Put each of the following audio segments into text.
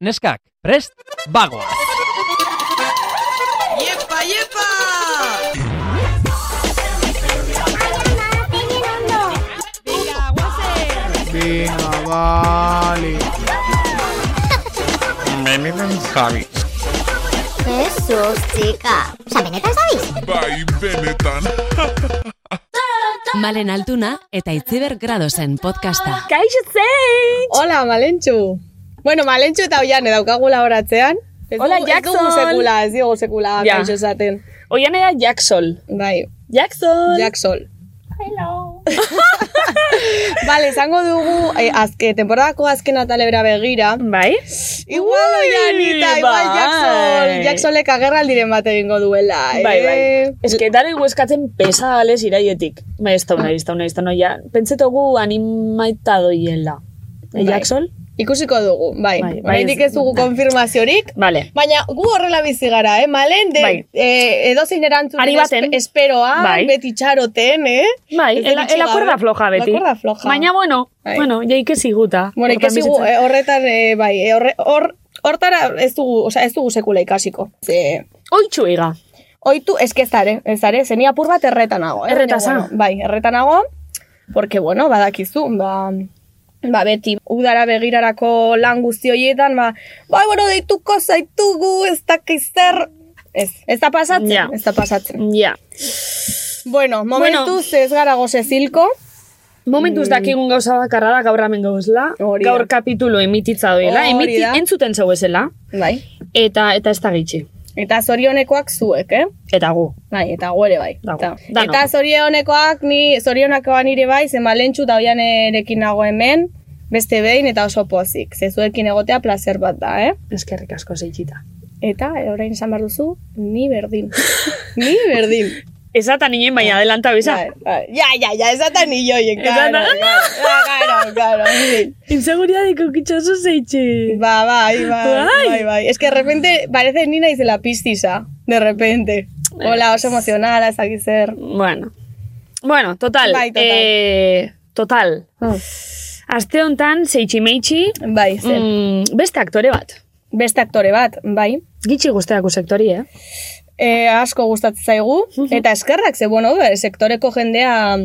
Neskak, prest, bagoa! Iepa, iepa! Venga, guazen! Venga, vale. Jesus, txika. Osa, benetan zabiz? Bai, benetan. Malen Altuna eta Itziber Gradosen podcasta. Kaixo zein! Hola, Malentxu. Bueno, Malentxu eta Oiane daukagula horatzean. Ez Hola, dugu- Ez dugu Jackson. sekula, ez dugu sekula Ja. kaixo esaten. Oian era Jacksol. Bai, Jacksol! Jacksol. Hello. vale, esango dugu eh, azke, temporadako azken atalebra begira. Bai? Igual Oianita, igual bai. Jackson. Jacksolek agerraldiren bat egingo duela. eh? Bai, bai. Ez que dara eskatzen pesa ales iraietik. Bai, ez da una, ez da una, ez da una, ja. Pentsetogu animaita doiela. E, Bai. Jacksol? Ikusiko dugu, bai. Bai, bai, Oraindik ez- ez dugu konfirmaziorik, Vale. Baina gu horrela bizi gara, eh? Malen, de, Bai. eh, edozein erantzunen Ari baten. espe- esperoa, Bai. beti txaroten, eh? Bai, Ez el, deritxe el acuerda gabe. floja beti. La cuerda floja. Baina, bueno, Bai. bueno, ja ikesi guta. Bueno, Hortan ikasi gu, bizitzen. eh, horretan, eh, bai, eh, horre, hor, hortara ez dugu, osea, ez dugu sekula ikasiko. Ze, Oitxu ega. oitu, ez que ez zare, ez zare, zeni apur bat erretan nago. Eh? Erreta Baina, za. bueno, bai, erretan nago, porque, bueno, badakizu, ba, ba, beti udara begirarako lan guzti horietan, ba, ba, bueno, deituko zaitugu, ez dakiz zer, ez, ez da pasatzen, Ja. ez da pasatzen. Ja. Bueno, momentuz ez gara gozezilko. Momentuz dakigun gauza bakarra da gaur hemen gauzela, Mm. Hori da. gaur kapitulo emititza doela, Hori emiti, da. entzuten zeu ezela, Bai. eta, eta ez da gitxi. Eta zorionekoak zuek, eh? Eta gu. Bai, eta guere bai. Dago. Eta, Dano. eta zorionekoak, ni, zorionakoa nire bai, zen balentxu eta oianerekin nago hemen, beste behin eta oso pozik. Ze zuekin egotea placer bat da, eh? Eskerrik asko zeitxita. Eta, e, orain esan behar duzu, ni berdin. ni berdin. Ezata ninen baina adelanta bisa. Bai, bai. Ja, ja, ja, ez da ni joien, Ezatan- karo. Karo, karo, karo. Inseguridadeko kitxoso zeitxe. Ba, bai, bai, Bai. bai, bai. Es que de repente parece ni naizela pistisa, de repente. Hola, oso emozionala, ez dakit zer. Bueno. Bueno, total. Bai, total. Eh, total. Aste honetan, zeitxi meitxi, Bai, zer. mm, beste aktore bat. Beste aktore bat, bai. Gitxi guzteako sektori, eh? E, asko gustatzen zaigu, Mhm. eta eskerrak, ze bueno, be, sektoreko jendea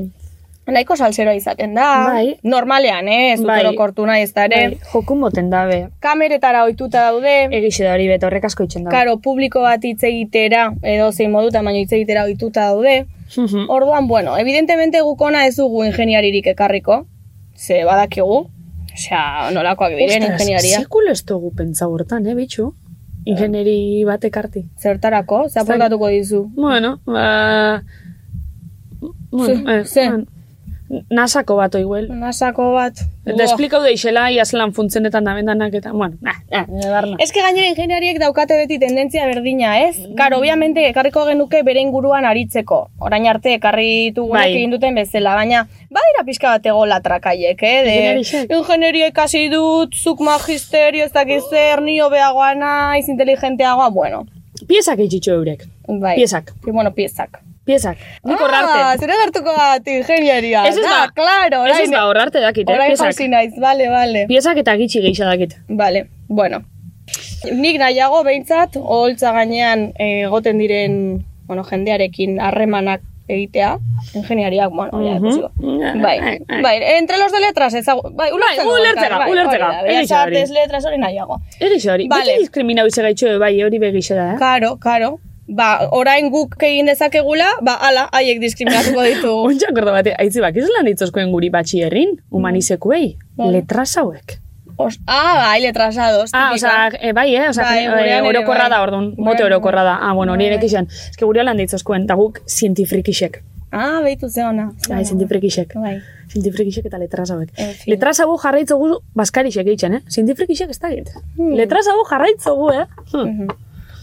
nahiko salseroa izaten da. Bai. Normalean, eh, ez dut Bai. orokortu nahi ez da ere. Bai, Jokun moten dabe. Kameretara ohituta daude. Egixe da hori beta horrek asko itxen dabe. Karo, publiko bat hitz egitera, edo zein modutan, baina hitz egitera ohituta daude. Mhm. Orduan, bueno, evidentemente gukona ez dugu ingeniaririk ekarriko, ze badakigu, osea, nolakoak diren Ostras, ingeniaria. Sekulo ez dugu pentsa hortan, eh, bitxu? Ingenieri batek arti. Zertarako, ze aportatuko dizu. Bueno, ba... Bueno, Ze- eh, ze? bueno. Nasako bat oiguel. Nasako bat. Eta esplikau deixela, iazlan funtzionetan dabendanak eta... Bueno, nah, nah, barna. Ez que gainera ingeniariek daukate beti tendentzia berdina, ez? Mm. Karo, obviamente, ekarriko genuke bere inguruan aritzeko. Orain arte ekarri dugunek Bai. egin duten bezala, baina badira pixka bat egola trakaiek, eh? De, Ingeniarixek. ingenieria ikasi dut, zuk magisterio ez dakiz zer, ni hobeagoa naiz, inteligenteagoa, bueno. Piezak itxitxo eurek. Bai. Piezak. Y, bueno, piezak. Piezak. Nik Ah, horrarte. zure gertuko bat ingeniaria. Ez ez da, da- Ah, claro, Ez ez orain, ba, da horrarte dakit, eh? orain Piezak. jauzi naiz, vale, vale. Piezak eta gitxi geisha dakit. Vale, bueno. Nik nahiago behintzat, oholtza gainean eh, egoten diren bueno, jendearekin harremanak egitea, ingeniariak, bueno, ja, ikusi ba. Bai, bai, entre los de letras, ezagu, bai, ulertzen Bai, dut, ulertzera, bai, ulertzera, hori da, bellas egia hori. artes, letras hori nahiago. Eres hori. Vale. Beti diskriminau izan gaitxo, bai, hori begixe da, eh? Karo, karo. Ba, orain guk egin dezakegula, ba, ala, haiek diskriminatuko ditugu. Ontsa akorda bate, aitzi bakiz lan ditzoskoen guri batxi Mm. herrin, humanizekuei, Bai. letras hauek. Os, ah, bai, letras ados. Ah, tipika. oza, e, bai, eh? Oza, Bai, bai, gurean ere orokorra bai. da, orduan, Gurean mote ere orokorra da. bai. Ah, bueno, hori Bai, ere kixan. Ez que gure lan ditzoskoen, da guk zientifrikixek. Ah, behitu ze ona. ze Bai, ona. zientifrikixek. Bai. Zientifrikixek eta letras hauek. En fin. Letras hau jarraitzogu baskarixek eitzen, eh? Zientifrikixek ez da egit. Hmm. Letras hau jarraitzogu, eh? Hm. Mhm.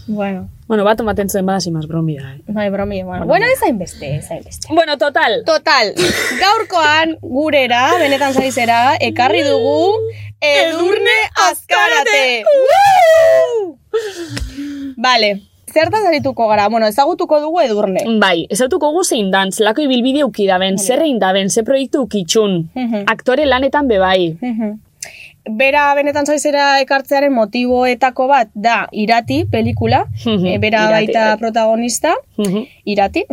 Bueno, Bueno, bat omaten zuen badasimaz bromida, eh? bai, bromi, bueno. Bueno, ez hainbeste, ez hainbeste. Bueno, total. Total, gaurkoan gurera, benetan zaizera, ekarri dugu Edurne Azkarate! Woo! Vale, zertan zarituko gara? Bueno, ezagutuko dugu Edurne. Bai, ezautuko gu zein dan, zelako ibilbide uki daben, zer egin daben, ze proiektu ukitxun, Mhm. bai. aktore lanetan bebai. Mhm. bera benetan zaizera ekartzearen motiboetako bat da irati pelikula, Mhm, e, bera Irati, baita bai. protagonista, Mhm. irati.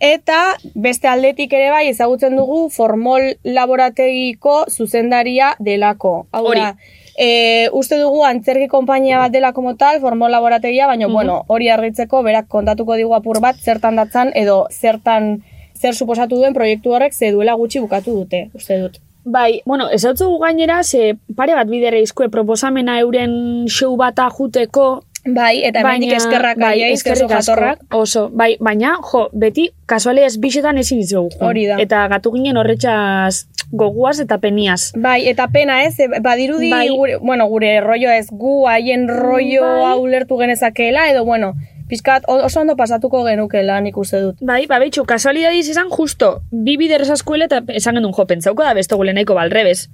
Eta beste aldetik ere bai ezagutzen dugu formol laborategiko zuzendaria delako. Hau da, e, uste dugu antzerki konpainia bat delako motal, formol laborategia, baina bueno, hori argitzeko berak kontatuko digu apur bat zertan datzan edo zertan zer suposatu duen proiektu horrek ze duela gutxi bukatu dute, uste dut. Bai, bueno, ez dutzugu gainera, ze pare bat bidere izkue proposamena euren show bata juteko, Bai, eta hemendik eskerrak bai, aiei, ze oso eskerrik asko, jatorrak. Oso, bai, baina, jo, beti, kasuale ez bisetan ezin dizugu. joan. Hori da. Eta gatu ginen horretxaz goguaz eta peniaz. Bai, eta pena ez, e, badirudi, Bai. gure, bueno, gure rollo ez gu, haien rolloa Bai. ulertu genezakeela, edo bueno, pixkat o- oso ondo pasatuko genukela nik uste dut. Bai, ba, betxu, kasualidadiz esan justo, bi bider esaskuela eta esan genuen jo, pentsauko da besto gule nahiko ba, balrebez.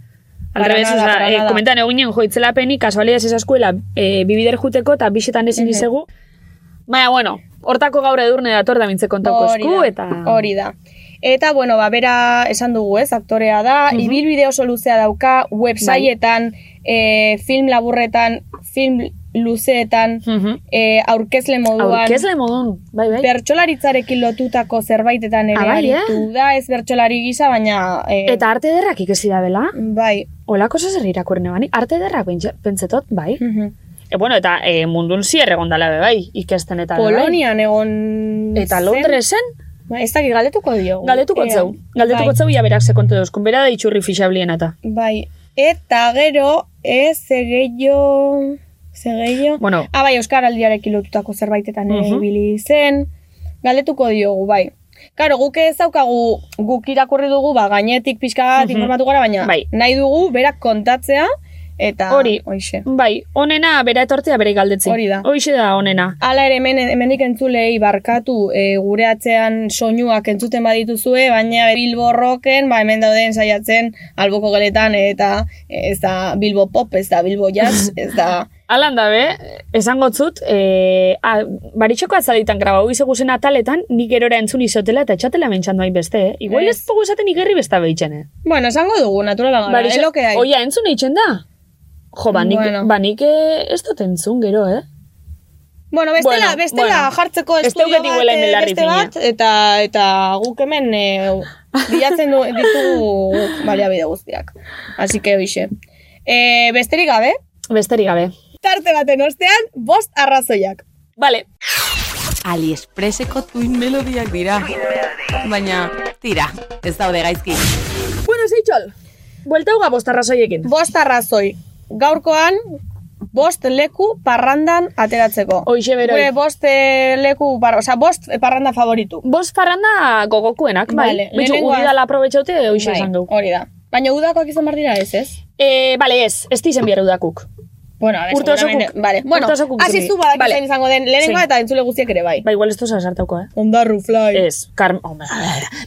Para Alrebez, nada, oza, para eh, nada. komentan egun nien jo, itzelapeni, kasualidadiz esaskuela eh, bi bider juteko eta bisetan ezin izegu. Baina, bueno, hortako gaur edurne dator da mintze kontako esku, da, eta... hori da. Eta, bueno, ba, bera esan dugu ez, aktorea da, Mhm. ibilbide oso luzea dauka, Bai. websaietan, e, film laburretan, film luzeetan, Mhm. e, aurkezle moduan. Aurkezle modun, bai, bai. Bertxolaritzarekin lotutako zerbaitetan ere Ah, bai, eh? aritu da, ez bertxolari gisa, baina... E, Eta arte derrak ikesi da bela? Bai. Olako zezer irakurne bani? Arte derrak pentsa- pentsetot, bai? Mhm. E, bueno, eta e, mundun zier egon dala be bai, ikesten eta be, bai. Polonian egon... Eta zen. Londresen, Ba, Ez dakit galdetuko diogu. Bai, galdetuko Ea. zau. Galdetuko bai. zau, ia berak sekonte dozkun. Bera da itxurri fixablien eta. Bai. Eta gero, eh, ez, zegeio... Zegeio... Bueno, Ah, bai, Euskaraldiarekin lotutako zerbaitetan ere Mhm. ibili zen. Galdetuko diogu, bai. Karo, guk ez daukagu, guk irakurri dugu, ba, gainetik pixka bat Mhm. informatu gara, baina Bai. nahi dugu, berak kontatzea, eta Hori. hoxe. bai, onena bera etortzea bere galdetzen. Hori da. Hoxe da onena. Hala ere, hemen, hemenik entzulei barkatu e, gure atzean soinuak entzuten badituzue, baina Bilborroken, ba, hemen dauden saiatzen alboko geletan eta e, ez da Bilbo pop, ez da Bilbo jazz, ez da... Alan da be, esango zut, e, a, baritxoko atzaditan grabau izegu zen ataletan, nik erora entzun izotela eta etxatela mentxan doain beste, eh? Igual ez Ez. dugu esaten ikerri besta behitzen, eh? Bueno, esango dugu, naturala gara, eh, Barixo- eloke dai. Oia, entzun eitzen da? Jo, ba nik, Bueno. ba, nik eh, ez dut entzun gero, eh? Bueno, bestela, Bueno, bestela bueno. jartzeko Ez estudio daukat igual bat, hemen eh, larri beste fina. bat, eta, eta guk hemen e, bilatzen du, ditugu baliabide guztiak. Así que, hoxe. E, besterik gabe, Besterik gabe. tarte baten ostean, bost arrazoiak. Vale. Aliexpreseko tuin melodiak dira. Baina, tira, ez daude gaizki. Bueno, zeitxol. Buelta uga bostarrazoiekin. Bost arrazoi. Gaurkoan, bost leku parrandan ateratzeko. Hoxe beroi. Gure bost eh, leku, par, oza, bost parranda favoritu. Bost farranda gogokuenak, bai. Vale, Betxu, lehenengoa- uri dala aprobetxaute, hoxe Bai, esan dugu. Hori da. Baina udakoak izan behar dira ez, ez? E, bale, ez, ez dizen bihar udakuk. Bueno, a ver, Urte oso seguramente- guk. Vale. Bueno, Urte oso guk hasi zuri. zu badak Vale. izan izango den lehenengoa Sí. eta entzule guztiak ere bai. Ba, igual ez duzu sartauko, eh? Ondarru fly. Ez, Carmen, hombre,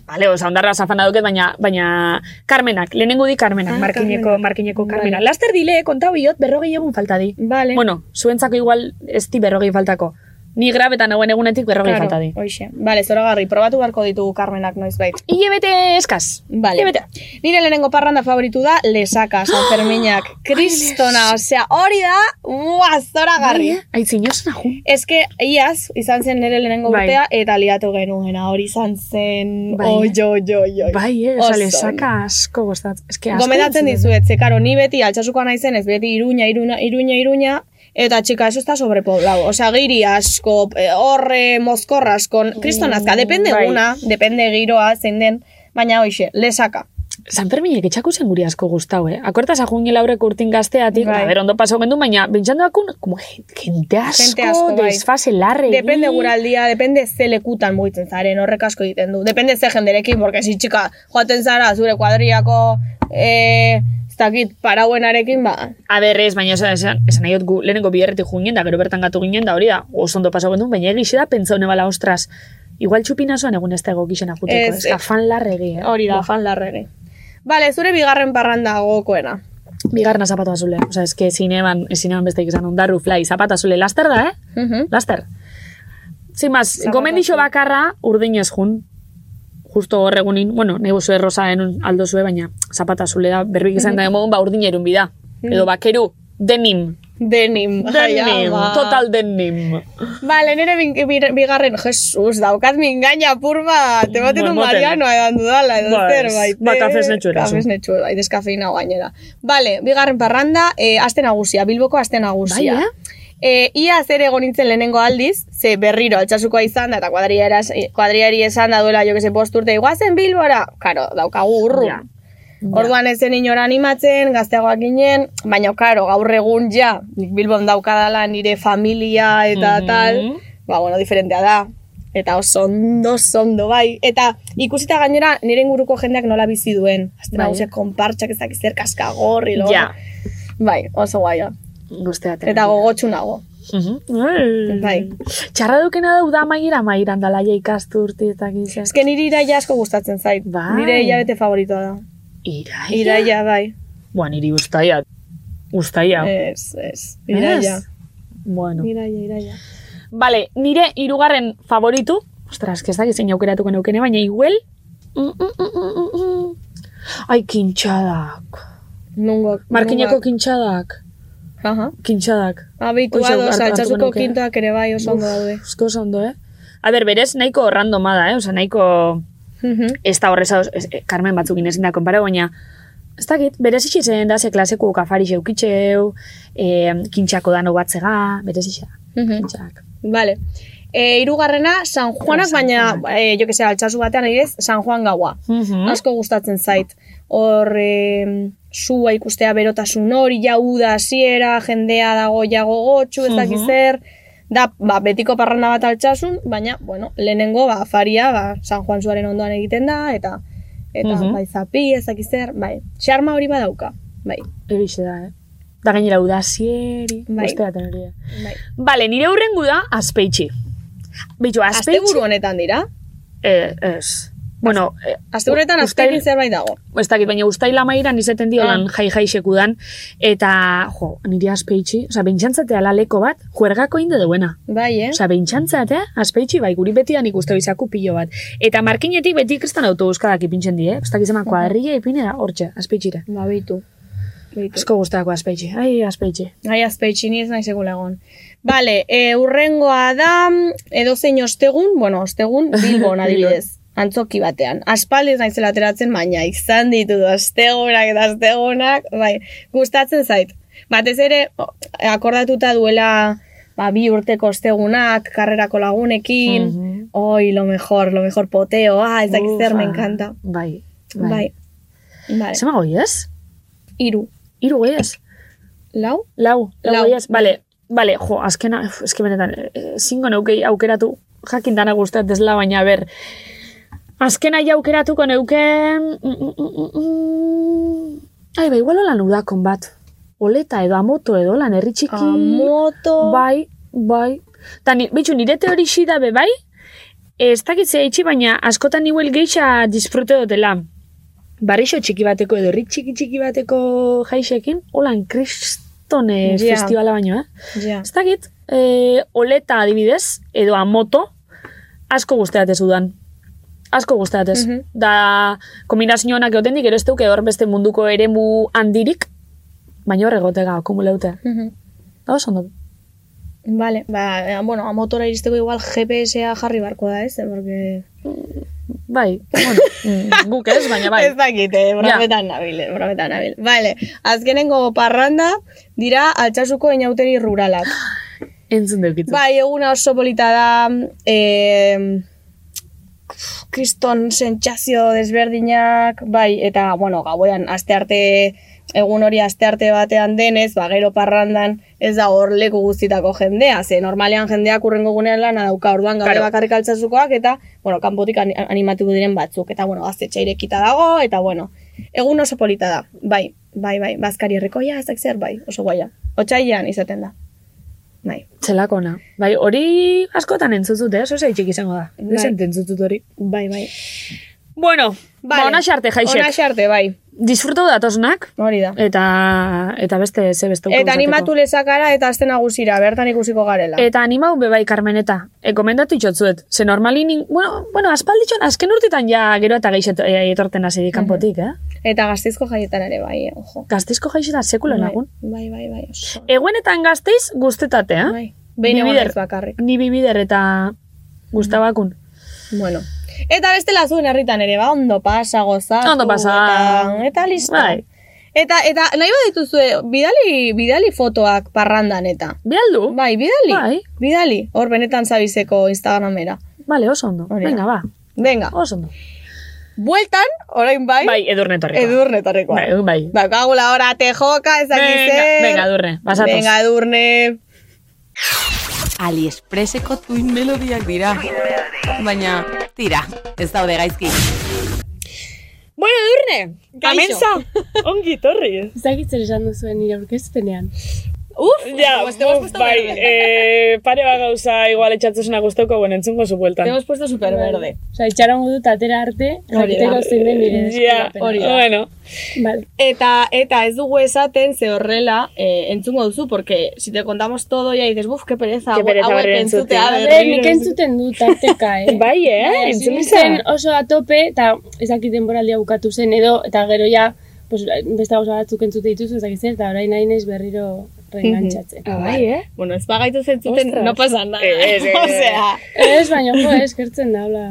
vale, oza, ondarra zafana duket, baina, baina, Carmenak, lehenengo di Carmenak, Ah, markineko, Carmenak. markineko Carmena. Vale. Laster dile, kontau iot, berrogei egun falta di. Vale. Bueno, zuentzako igual ez di berrogei faltako. Ni grabetan nagoen egunetik berrogei Claro, falta di. Hoxe. Vale, zoragarri, probatu beharko ditugu Carmenak noizbait. Ile bete eskaz. Vale. Ile bete. Nire lehenengo parranda favoritu da Lesaka, San Ferminak. Kristona, osea, hori da, ua, zoragarri. Bai, eh? Aitzin, osan ajun. Ez que, iaz, izan zen nire lehenengo Bai. urtea, eta liatu genuena, hori izan zen, Bai. oi, oi, oi, oi. Bai, eh, Oso oza, ondo. lesaka asko goztat. Ez que asko. Gomendatzen goztatzen dizuet, ze karo, ni beti altxasukoa naizen, ez beti iruña, iruña, iruña, iruña, eta txika, eso está sobrepoblado. Osea, giri asko, eh, horre, mozkorra asko, kriston azka, depende bai. eguna, depende giroa, zein den, baina hoxe, lesaka. San Ferminek etxako zen guri asko gustau, eh? Akortaz ajun laurek urtin gazteatik, Bai. a ber, ondo paso gendu, baina bintxan doakun, como gente asko, Jente asko, bai. desfase larre. Depende guraldia, depende ze lekutan mugitzen zaren, horrek asko egiten du. Depende ze jenderekin, porque si txika joaten zara, zure kuadriako, eh, ez dakit, parauenarekin, ba, A ber, ez, baina esan, esan, esan nahi dut gu, lehenengo biherretik jungen da, gero bertan gatu ginen da, hori da, oso ondo paso gendu, baina egixe da, pentsaune bala, ostras, igual txupinazoan egun ez da egokixen ajuteko, Ez, ez, afan larregi, eh? hori da, Buah, Ba, fan larregi. Vale, zure bigarren parranda gogokoena. Bigarna zapatu azule, oza, ez que zineban, zineban beste izan, ondarru fly, zapatu azule, laster da, eh? Mhm. Laster. Zin baz, gomendixo bakarra urdinez jun. Justo hor Mm-hmm. egunin, bueno, nahi bozu errosa enun aldo zue, baina zapata zule da, berbik izan da emogun, ba urdin erun bida. Edo bakeru, denim. Denim. Mm-hmm. Ai, ba. Bai, Denim, ama. total denim. Bale, nire bin- bir- bigarren, Jesus, daukat mingaina apur bat, ematen du Bueno, motel. Marianoa edan dudala, eh, edo Ba, zer, bai. ez. baite. Ba, kafes netxura, zu. Kafes netxura, bai, deskafeinao gainera. Bale, bigarren parranda, eh, aste nagusia, Bilboko aste nagusia. Bai, eh? Eh, ia zer egon nintzen lehenengo aldiz, ze berriro altxasukoa izan da, eta kuadria eras- eh, kuadriari esan da duela, jo que se, bost urte, iguazen Bilbora, karo, daukagu urru. Ja. Orduan ez zen inora animatzen, gazteagoak ginen, baina, karo, gaur egun ja, nik Bilbon daukadala nire familia eta Mhm. tal, ba, bueno, diferentea da. Eta oso ondo, oso ondo, bai. Eta ikusita gainera nire inguruko jendeak nola bizi duen. Azten Bai. bai. hausiak konpartxak ezak zer kaskagorri, lo. Ja. Bai, oso guaia. Guztia Mhm. Eta gogotsu nago. Bai. Txarra dukena dau da maiera mairan dala ja ikastu urti eta gizia. Ez que nire iraia asko gustatzen zait. Bai. Nire hilabete favoritoa da. Iraia. Iraia, bai. Buan, iri ustaia. Ustaia. Ez, ez. Eh, Iraia. Ez? Bueno. Iraia, iraia. Vale, nire hirugarren favoritu. Ostras, que ez dakit zein aukeratuko neukene, baina iguel. Mm, mm, mm, mm, mm, mm. Ai, kintxadak. Nungo. Markineko nungoak. kintxadak. Aha. Kintxadak. Hoxe, Abituados, hartuko altxasuko nuke. kintoak ere bai oso ondo daude. Eusko oso ondo, eh? A ber, berez, nahiko randoma da, eh? Osa, nahiko... Mhm. Ez da horreza, ez- eh, Carmen batzukin ezin da konpara, baina... Ez dakit, berez itxe zen da, ze klaseko kafari xeukitxeu, eh, kintxako dano batzega, berez itxe da, Mhm. kintxak. Vale. E, irugarrena, San Juanak, Oh, San baina, Juanak. e, jo que sea, altsasu batean adibidez, San Juan gaua. Mhm. Asko gustatzen zait. Hor, e, sua ikustea berotasun hori, ja uda hasiera, jendea dago ja gogotsu, ez dakiz zer. Da, ba, betiko parranda bat altsasun, baina, bueno, lehenengo, ba, faria, ba, San Juan zuaren ondoan egiten da, eta, eta, Mhm. bai, zapi, ez dakiz zer, bai, xarma hori badauka, bai, Egixe da, eh? Da gainera udazieri, Bai. bai. osteaten hori. bai. Vale, nire hurrengu da azpeitxi. Bitu, azpeitxi... Asteburu honetan dira, Eh, ez. Bueno, eh, asteburuetan u- azpekin uztail- zerbait dago. Ez dakit, baina ustaila mairan izaten Ah. diolan jai jai sekudan. Eta, jo, nire azpeitxi, oza, bentxantzatea laleko bat, juergako inde duena. Bai, eh? Osa, bentxantzatea, azpeitxi, bai, guri betian ikuste bizaku pilo bat. Eta markinetik beti kristan autobuskadak ipintzen die, eh? Ez dakit zeman kuadrilla ipine da, hortxe, azpeitxira. Ba, bitu. Bitu. Asko guztako azpeitxi, ai, azpeitxi. Ai, azpeitxini ez nahi segula egon. Bale, e, urrengoa da, edozein ostegun, bueno, ostegun, Bilbon adibidez, antzoki batean. Aspaldi ez naizela ateratzen, baina izan ditu ostegunak eta ostegunak, bai, gustatzen zait. Batez ere, o, akordatuta duela ba, bi urteko ostegunak, karrerako lagunekin, Mhm. oi, lo mejor, lo mejor poteoa, ez dakiz zer, Ufa. me encanta. Bai, bai. Bai. Vale. Zema goi ez? Iru. Iru goi ez? Lau? Lau, lau, Lau. lau. ez? Bale, bale, jo, azkena, uf, eske benetan, eh, zingo neukei aukeratu, jakin dana guztat desla, baina ber, azkena ja aukeratuko neuke... Mm, mm, mm, mm, ai, ba, igual holan udakon bat. Oleta edo amoto edo lan herri txiki. Amoto. Bai, bai. Ta, ni, bitxu, nire teori da be, bai, ez dakitzea itxi, baina askotan igual geixa disfrute dutela. Barrixo txiki bateko edo herri txiki txiki bateko jaixekin, holan kristone Ja. festivala baino, eh? Ja. Ez dakit, e, oleta adibidez, edo amoto, asko guzteatez udan. Asko guzteatez. Mhm. Da, kombinazio honak egoten dik, ero ez duk edo beste munduko eremu handirik, baina hor egotega, kumuleutea. Mhm. Da, oso ondo. Vale, ba, eh, bueno, a motora iristeko igual GPS-a jarri barko da, ez? Eh, Porque... Bai, bueno, mm, guk ez, baina bai. Ez dakite, brabetan brabetan nabil, brabetan nabil. Vale, azkenengo parranda dira altxasuko inauteri ruralak. Entzun deukitu. Bai, eguna oso polita da, eh, kriston sentsazio desberdinak, bai, eta, bueno, gauean, aste arte, egun hori aste arte batean denez, ba, gero parrandan, ez da hor leku guztitako jendea, ze normalean jendeak urrengo gunean lana dauka, orduan gabe Claro. bakarrik altzazukoak, eta, bueno, kanpotik ani- animatu diren batzuk, eta, bueno, gaztetxe irekita dago, eta, bueno, egun oso polita da, bai, bai, bai, bazkari herrikoia, ez dakit zer, bai, oso guaia. Otsailean izaten da. Bai. Txelakona. Bai, hori askotan entzutut, eh? Oso zaitxik izango da. Bai. Bai. entzutut hori. Bai, bai. Bueno, vale. ba, onaxe arte, jaixek. Ona xarte, bai. Disfrutau datoznak, Hori da. eta, eta beste ze beste Eta animatu lezakara eta azten agusira, bertan ikusiko garela. Eta animau be bai, Carmeneta. Ekomendatu itxotzuet. Ze Mm. normali, nin, bueno, bueno aspalditxon, azken urtetan ja gero eta geixet e, etorten hasi di kanpotik, eh? Eta gazteizko jaietan ere bai, ojo. Gazteizko jaixera sekulo lagun. Bai, bai, bai, oso. Eguenetan gazteiz eh? guztetatea. Bai. Behin egon Bibider. ez bakarrik. Ni bibider eta guztabakun. Bueno. Eta bestela zuen herritan ere, ba, ondo pasa, gozatu. Ondo pasa. Eta, eta listo. Bai. Eta, eta nahi bat dituzue, bidali, bidali fotoak parrandan eta. Bialdu? Bai, bidali. Bai. Bidali. Hor benetan zabizeko Instagramera. Bale, oso ondo. Hori da. Venga, ba. Venga. Oso ondo. Bueltan, orain bai, Bai, edurne torrikoa. edurnetarrekoa. Bai, bai. Ba, kagula ora tejoka, ezakize. Venga, venga, edurne. Basatoz. Bai, Venga, edurne. Aliexpreseko tuin melodiak dira. Baina, tira, ez daude gaizki. Bueno, edurne. Kaixo. Ongi torri. Ez dakit zer esan duzuen nire aurkezpenean. Uf, Ja, pues te hemos puesto bai, verde. eh, pare bat gauza igual etxatzesuna guztauko guen entzungo zu bueltan. Te hemos puesto super verde. Osa, itxarongo dut atera arte, Hori da. jakiteko zein den nire Ja, deskribapena. hori da. bueno. Vale. Eta, eta ez dugu esaten ze horrela eh, entzungo duzu, porque si te contamos todo ya dices, buf, qué pereza, Qué hau- pereza hauek berriro entzutea entzutea. Eh, berriro. nik entzuten du tarteka, eh? Bai, eh, entzun Hasi izan. nintzen oso atope, eta ez dakit denboraldia bukatu zen, edo, eta gero ja, pues, beste gauza batzuk entzute dituzu, ez dakit zer, eta orain nahi naiz berriro reengantzatzen. Ah, bai, eh? Bueno, ez bagaitu zentzuten, Ostras. no pasa nada. Eh, eh, eh. Osea, Ez, baina jo, eh, eskertzen da, hola.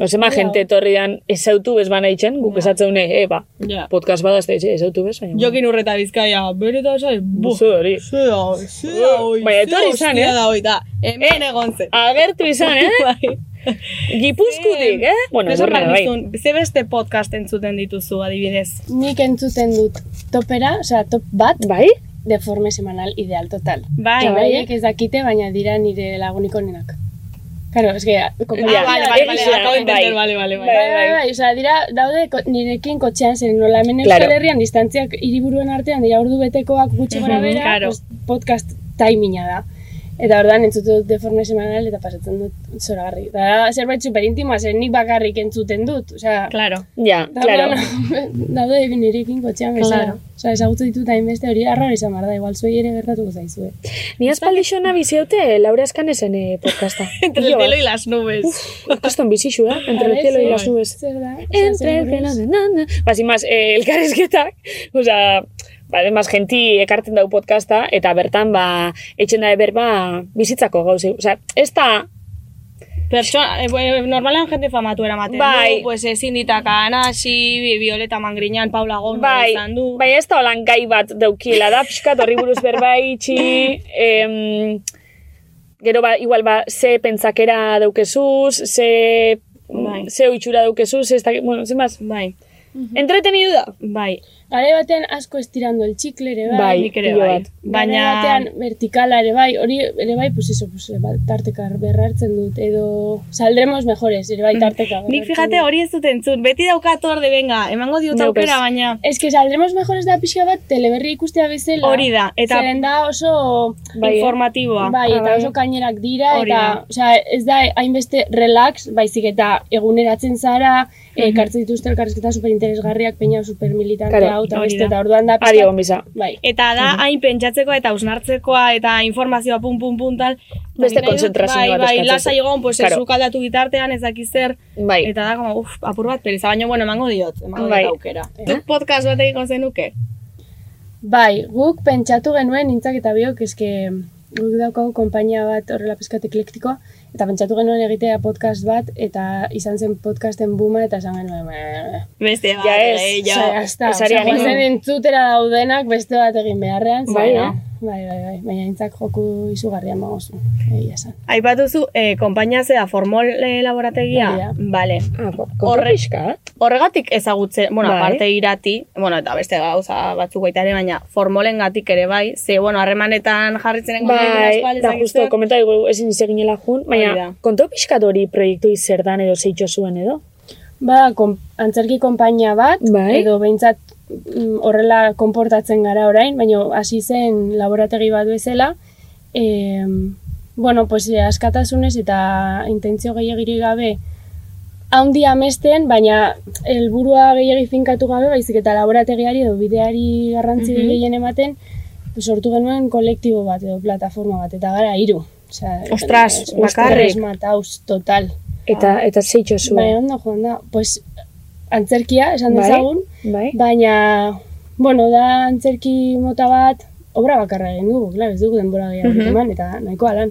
Ozema jente etorri dan ezautu bez bana itxen, guk esatzeune, eh, ba, ja. podcast bada ez da itxe, ezautu bez, baina. Jokin urreta bizkaia, bereta esai, buf, Buzu hori. zeda, zeda, oi, Baina etorri ze izan, hostia eh? da hoi da, hemen egon zen. Agertu izan, eh? Bai. Gipuzkutik, eh? Bueno, Esan edurne, behar bai. nizun, Ze beste podcast entzuten dituzu, adibidez? Nik entzuten dut topera, osea, top bat, Bai? deforme semanal ideal total. Bai, Eta bai, beraiek ez dakite, baina dira nire laguniko nenak. Claro, eske, Ah, kokatzen Ja, bai, bai, bai, egia, acabo de entender, bai. bale, bale, Bai, bale. bai, bai, osea, dira, daude ko, nirekin kotxean zen, nola hemen Claro. Euskal Herrian, distantziak hiriburuen artean, dira ordu betekoak gutxi gora Mhm, bera, claro. pues, podcast taiminga da. Eta ordan entzut dut deforme semanal eta pasatzen dut zoragarri. Eta da zerbait superintimoa, zen nik bakarrik entzuten dut, osea, Claro. Ja, da- claro. daude nirekin kotxean bezala. Claro. Osea, ezagutu ditut hainbeste hori arraro izan behar da, igual zuei ere gertatuko zaizue. Ni aspaldixona biziote Laura Eskanesen eh, podcasta. Bai. bai, Entre el cielo y las nubes. Kaston bizixu, eh? Entre el cielo y bai. las nubes. Zer da? Osea, Entre el seguru cielo ez. y las nubes. Ba, sin más, eh, elkarrezketak, osea, ba, además, genti ekartzen dau podcasta, eta bertan, ba, etxen da eber, ba, bizitzako gauze. Osea, ez da, Pertsona, eh, bueno, normalean jende famatu eramaten Bai. du, pues ezin ditaka anasi, Violeta Mangriñan, Paula Gómez bai, izan du. bai, ez da holan gai bat daukiela da, pixkat horri buruz berbaitxi, em, gero, ba, igual, ba, ze pentsakera daukezuz, ze, Bai. ze oitxura daukezuz, ze ez da, bueno, zen más, Bai, entretenidu da. bai, Gare batean asko estirando el txikle ere bai. Bai, nik ere pilo bai. bat. Baina... Baina, batean vertikala ere bai, hori ere bai, pues eso, pues, bat, tarteka berrartzen dut, edo saldremos mejores, ere bai tarteka. nik fíjate hori ez dut entzun, beti daukat hor de venga, emango diot Neu aukera, bez. baina Ez que saldremos mejores da pixka bat teleberri ikustea bezala. hori da, Eta... eta Zeren da oso... Bai, eh? informatiboa. Bai, eta bai. oso kainerak dira, Hori eta da. osea, ez da hainbeste relax, baizik eta eguneratzen zara, eh, Mhm. ekartzen dituzte elkarrezketa superinteresgarriak, peina supermilitante Claro, hau, eta hori beste, da. eta orduan da Ari pixka... egon biza. Bai, Eta da, hain pentsatzekoa eta ausnartzekoa eta informazioa pum pum pum tal. Beste Nahi dut, kontzentrazio bai, bat Bai, eskatzen lasa zu. egon, pues Claro. claro. aldatu bitartean, ez dakiz zer, Bai. eta da, como, uff, apur bat pereza, baina, bueno, emango diot, emango Bai. diot aukera. Duk podcast bat egiko zenuke? Bai, guk pentsatu genuen nintzak eta biok, eske guk daukagu konpainia bat horrela peskat eklektikoa, eta pentsatu genuen egitea podcast bat, eta izan zen podcasten buma, eta esan genuen, "Meh, Beste bat, Bai, Ja ez, eh, ja, ja. jazta, ez ari osea, ari. guazen entzutera daudenak beste bat egin beharrean, Bai, zera. eh? bai, bai, bai, baina nintzak joku izugarrian magozu, egia esan. Aipatu zu, eh, konpainia zea formol eh, laborategia? Bai, Hori da. Vale. Horre Horre- ah, pixka. Horregatik ezagutzen, bueno, Bai. aparte irati, bueno, eta beste gauza batzuk baita ere, baina formolengatik ere bai, ze, bueno, harremanetan jarritzen Bai, da justo komenta dugu ezin izeginela jun, Hori baina da. konto pixkat hori proiektu izerdan edo zeitxo zuen edo. Ba, kon, antzerki konpainia bat, Bai. edo behintzat mm, horrela konportatzen gara orain, baina hasi zen laborategi bat bezala, e, bueno, pues, eh, askatasunez eta intentzio gehiagirik gabe haundi amesten, baina helburua gehiagi finkatu gabe, baizik eta laborategiari edo bideari garrantzi Mhm. gehien ematen, pues, sortu genuen kolektibo bat edo plataforma bat, eta gara hiru. Osea, Ostras, eh, bakarrik. mataus, total. Bai, Eta, eta zeitxo zuen. Baina ondo joan da, pues antzerkia, esan Bai. dezagun, Bai. baina, bueno, da antzerki mota bat, obra bakarra egin dugu, klar, ez dugu denbora gehiago Mhm. eman, eta nahikoa lan.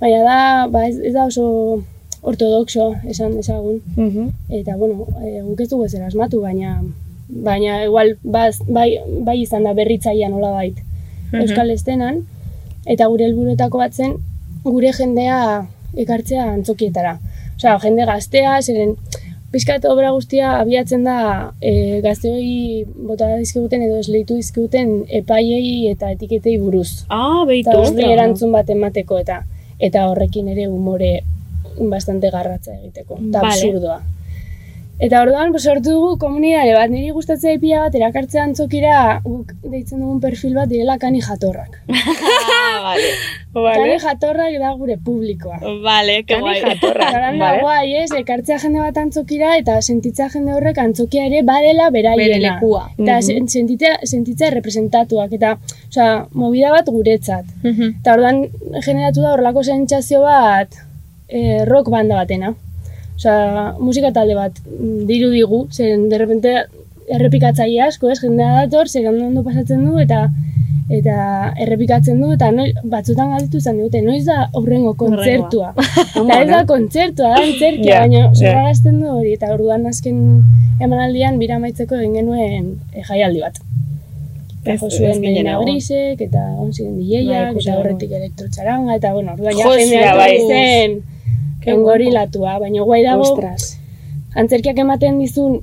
Baina da, ba, ez, ez da oso ortodoxo, esan dezagun, Mhm. eta, bueno, e, guk ez dugu ezer asmatu, baina, baina igual, baz, bai, bai izan da berritzaia nola bait, euskal estenan, eta gure helburuetako bat zen, gure jendea ekartzea antzokietara. Osea, jende gaztea, zeren, pizkat obra guztia abiatzen da e, gazteoi bota dizkiguten edo esleitu dizkiguten epaiei eta etiketei buruz. Ah, behitu. Eta horri erantzun bat emateko eta eta horrekin ere umore bastante garratza egiteko. Eta Vale. absurdoa. Eta orduan, pues, sortu dugu komunidade bat, niri gustatzea pila bat, erakartzea antzokira, guk deitzen dugun perfil bat direla kani jatorrak. Kani Vale. jatorrak da gure publikoa. Vale, que guai. Garan da guai, ez, ekartzea jende bat antzokira eta sentitzea jende horrek antzokia ere badela Bere beraiena. lekua. Mhm. Eta sen- sentitzea, sentitzea representatuak, eta, osea, movida bat guretzat. Eta orduan generatu da horrelako sentsazio bat eh, rock banda batena. Osea, musika talde bat mm, diru digu, zen derrepente errepikatzaile asko, ez, jendea dator, zer ondo ondo pasatzen du, eta eta errepikatzen du, eta noi, batzutan galdetu izan digute, noiz da horrengo kontzertua. eta ez da kontzertua, da antzerkia, Ja, baina ja. sorrarazten du hori, eta orduan azken emanaldian bira amaitzeko egin genuen eh, jaialdi bat. Eta Ez- jo ez zuen ginen Medina egon. Grisek, eta onziren DJak, ikusi eta dugu. horretik elektrotxaranga, eta bueno, orduan ja Josia, jendea bai. etorri zen Ke engorilatua, baina guai dago Ostras. antzerkiak ematen dizun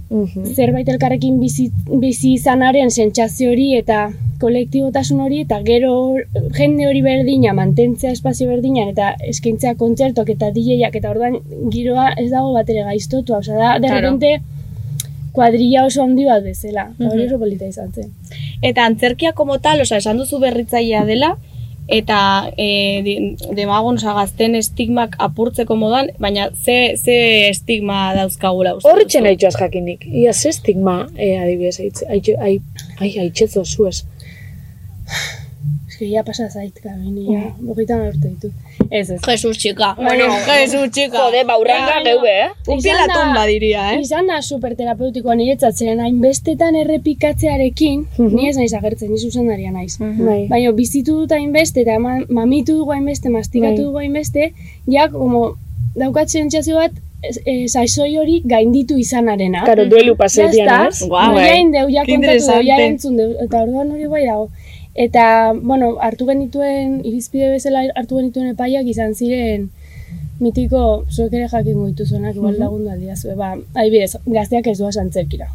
zerbait elkarrekin bizi, bizi izanaren sentsazio hori eta kolektibotasun hori eta gero hor- jende hori berdina, mantentzea espazio berdinan eta eskaintzea kontzertuak eta DJak eta orduan giroa ez dago bat ere gaiztotua, osea da, de Claro. repente kuadrilla oso handi bat bezala, Eta hori oso polita izan zen. Eta antzerkia como tal, osea, esan duzu berritzailea dela, eta e, di- demagun, osea, gazten estigmak apurtzeko modan, baina ze, ze estigma dauzkagula uste Horri duzu? txena itxoaz jakinik. Ia ze estigma, eh, adibidez, aitz- aitxe- ai, ai, aitzetzo zuez. Ez que ya pasa zait, kabini, ja, Mm. bogeita hamar urte ditu. Ez, ez. Jesus, txika. Bueno, Jesus, txika. Jode, baurranga geube, eh? Un pie la Izan da- tomba diria, eh? Izan da superterapeutikoa niretzat zeren hainbestetan errepikatzearekin, ni ez naiz agertzen, ni zuzendaria naiz. Mhm. Bai. Baina bizitu dut hainbeste eta ma- mamitu dugu hainbeste, mastikatu Bai. dugu hainbeste, ja, como, daukat sentsazio bat, e, saizoi hori gainditu izanarena. Karo, duelu Ya pasetian, está, ez? Bai. Guau, no, eh. ja indeu, ja Qué kontatu deu, ja interesante. entzun deu, eta orduan hori bai dago. Eta, bueno, hartu genituen, irizpide bezala hartu genituen epaiak izan ziren mitiko, zuek ere jakingo dituzuenak, igual lagundu aldiazue, ba, adibidez, gazteak ez duaz antzerkira,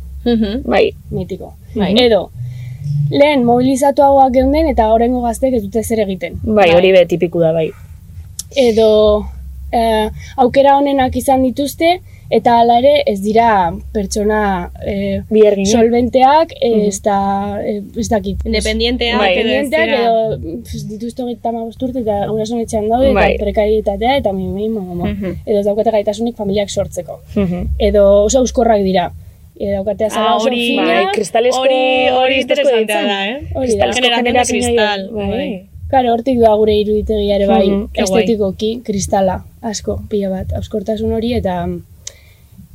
Bai. mitiko. Edo, lehen mobilizatuagoak geunden eta horrengo gazteek ez dute zer egiten. Bai, hori be tipiku da, bai. Edo, eh, aukera honenak izan dituzte, eta hala ere ez dira pertsona eh, Bi ergin. solbenteak ez da, eh, ez dakit. Independientea, Bai. Independenteak edo pf, dituzte hogeita hamabost urte eta gurasoen etxean daude eta Bai. prekarietatea eta mimimi momo. Edo ez daukate gaitasunik familiak sortzeko. Mhm. Edo oso euskorrak dira. Edo daukatea zara Ah, oso hori, fina. Bai, kristalesko... Hori, hori kristalesko interesantea deitzen. da, eh? Hori da. Kristalesko Generación de generazioa, cristal, Bai. bai. Claro, hortik da gure iruditegia ere bai, Mhm, Hmm, ke guai. estetikoki, kristala, asko, pila bat, auskortasun hori, eta,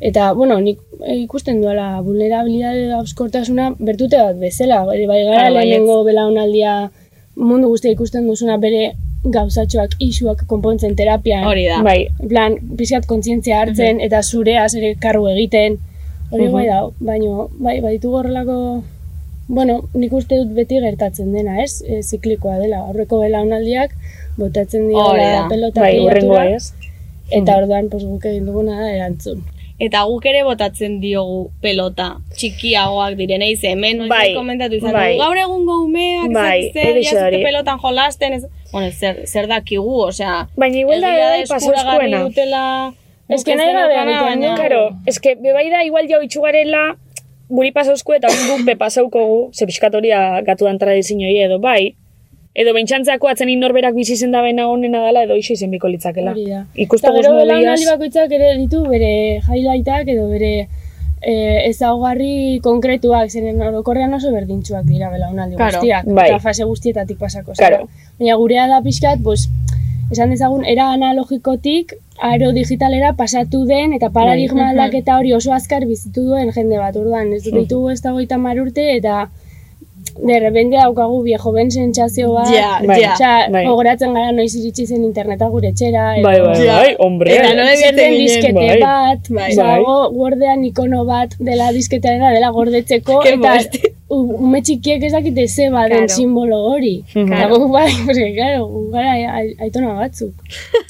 eta bueno, nik eh, ikusten duala vulnerabilidade da auskortasuna bertute bat bezala, ere bai gara Claro, baietz. lehenengo belaunaldia mundu guztia ikusten duzuna bere gauzatxoak, isuak konpontzen eh? terapian, Hori da. Bai. En plan, pixkat kontzientzia hartzen, eta zureaz ere karru egiten, hori Mhm. bai dago, baino, bai, baditu horrelako, bueno, nik uste dut beti gertatzen dena, ez? E, ziklikoa dela, aurreko belaunaldiak, botatzen Hori dira da. pelota Bai, pilatura, urrengoa ez. Mhm. eta orduan, pues, guk egin duguna da erantzun. Eta guk ere botatzen diogu pelota, txikiagoak direnei, ze hemen Bai, bai, komentatu izan bai. dugu, gaur egungo umeak, Bai, bai, zer, hori ja ez hori. dute pelotan jolasten, ez... Bueno, zer, zer dakigu, osea... Baina igual da edai pasozkoena. Dutela, Ez que nahi gabe egiten dugu. Karo, eske bebai bai da igual jau itxugarela guri pasauzko eta hori guk bepasaukogu, ze pixkat hori da gatudan tradizioi edo, bai. Edo bentsantzako atzen inorberak bizi izen da bena honena dela edo iso izen biko litzakela. Hori da. Eta Ikustu gero guzmo belaunaldi diaz. bakoitzak ere ditu bere highlightak edo bere eh, ezaugarri konkretuak, zeren orokorrean oso berdintxuak dira belaunaldi Claro, guztiak, bai. eta fase guztietatik pasako Claro. zara. Baina gurea da pixkat, pues, esan dezagun, era analogikotik aro digitalera pasatu den eta paradigma Bai. aldaketa hori oso azkar bizitu duen jende bat, orduan, ez dut ditugu ez da goita marurte eta de repente daukagu viejo ben sentsazio bat, Ja, bai, ja, osea, bai. gogoratzen gara noiz iritsi zen interneta gure etxera, edo- Bai, bai, Ja. bai, hombre. Eta nola Zuten Zuten diskete bai. bat, Bai. bai. gordean ikono bat dela disketarena dela gordetzeko, Ke eta molesti. u- ume txikiek ez dakite ze baden Claro. simbolo hori. Eta Claro. gu bai, porque, claro, gu gara ai- aitona batzuk.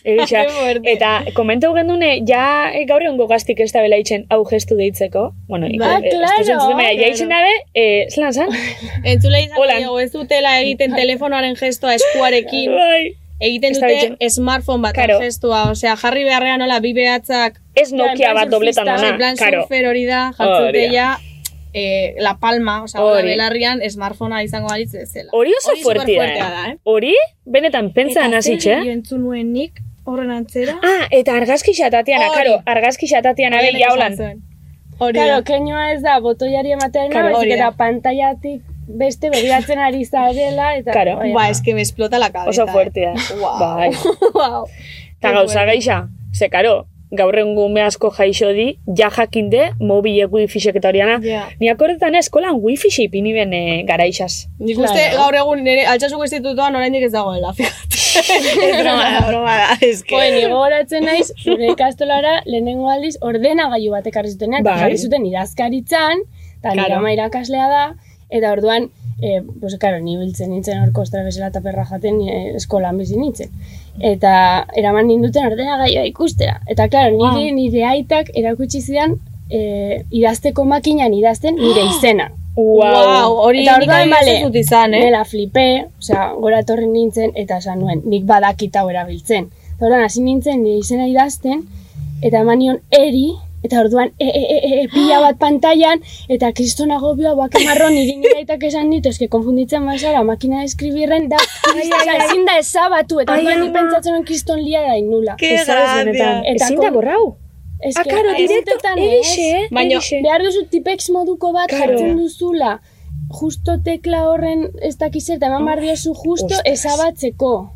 Egia, Ke fuerte. eta komentau gendune, ja eh, gaur egongo gaztik ez da bela itxen hau gestu deitzeko. Bueno, Ah, iko, Ba, eh, ez claro, dut zentzuten bera, ja claro. itxen dabe, eh, zelan zan? Entzule izan Hola. diogu, ez dutela egiten telefonoaren gestoa eskuarekin, Bai. egiten Ez da dute smartphone bat Claro. gestua, osea, jarri beharrean nola bi behatzak, Ez Ja, en Nokia plan bat dobletan surfista, dana, en plan karo. surfer hori da, jartzen Hori da. dute ja, eh, la palma, osea, hori Hori. belarrian smartphonea izango balitz bezala. Hori oso fuertea, superfuertea da, eh? Hori, benetan pentsa nazitxe. Eta zer entzun nuen nik, horren antzera? eh? Ah, eta argazki xatatiana, Hori. karo, argazki xatatiana be, Haiek jaulan. esan zuen. Hori da. Claro, keinoa ez da, botoiari ematearen Claro, hori baizik da. eta pantaiatik beste begiratzen ari zarela, eta... Claro. Bai, Ba, es que me explota la cabeza. eh. Oso fuertea. Wow. Bai. wow. Ta gauza gaixa, ze karo, gaur egun ume asko jaixo di, ja jakinde, mobilek wifi-sek eta horiana. Ja. Ni akordetan eskolan wifi-xe ipini ben e, gara isaz. Nik uste gaur egun nire altxasuko institutoan oraindik ez dagoela, fíjate. ez broma da, broma da, es que... Jo, ni gogoratzen naiz, zure ikastolara lehenengo aldiz ordenagailu bat ekarri zutenean, Bai. eta jarri zuten idazkaritzan, eta nire Claro. ama irakaslea da, eta orduan, eh, pues, claro, ni biltzen nintzen hor kostra bezala eta perra jaten ni, eh, eskolan bizi nintzen. Eta eraman ninduten ordenagailua ikustera. Eta claro, nire, Ah. nire aitak erakutsi zidan eh, idazteko makinan idazten nire Ah. izena. Wow, hori Eta nik orduan, adibidez bale, ez dut izan, eh? Nela flipe, osea, gora torri nintzen, eta esan nuen, nik badakit hau erabiltzen. Eta orduan, hasi nintzen, nire izena idazten, eta eman nion eri, eta orduan, e, e, e, e, pila bat pantailan, eta kristona gobioa, bake marron, nire nire aitak esan ditu, eske konfunditzen bazara, makina de eskribirren, da, osea, ezin da ezabatu, eta orduan, ni pentsatzen nuen kriston lia da inula. Ke grazia. Eta Ezin da kon- gorrau. Eske, Ah, karo, direkto, ahizetetan ez. erixe, eh, Baina- erixe. behar duzu tipex moduko bat Claro. jartzen duzula, justo tekla horren ez dakiz eta eman behar diozu justo Ostras. ezabatzeko.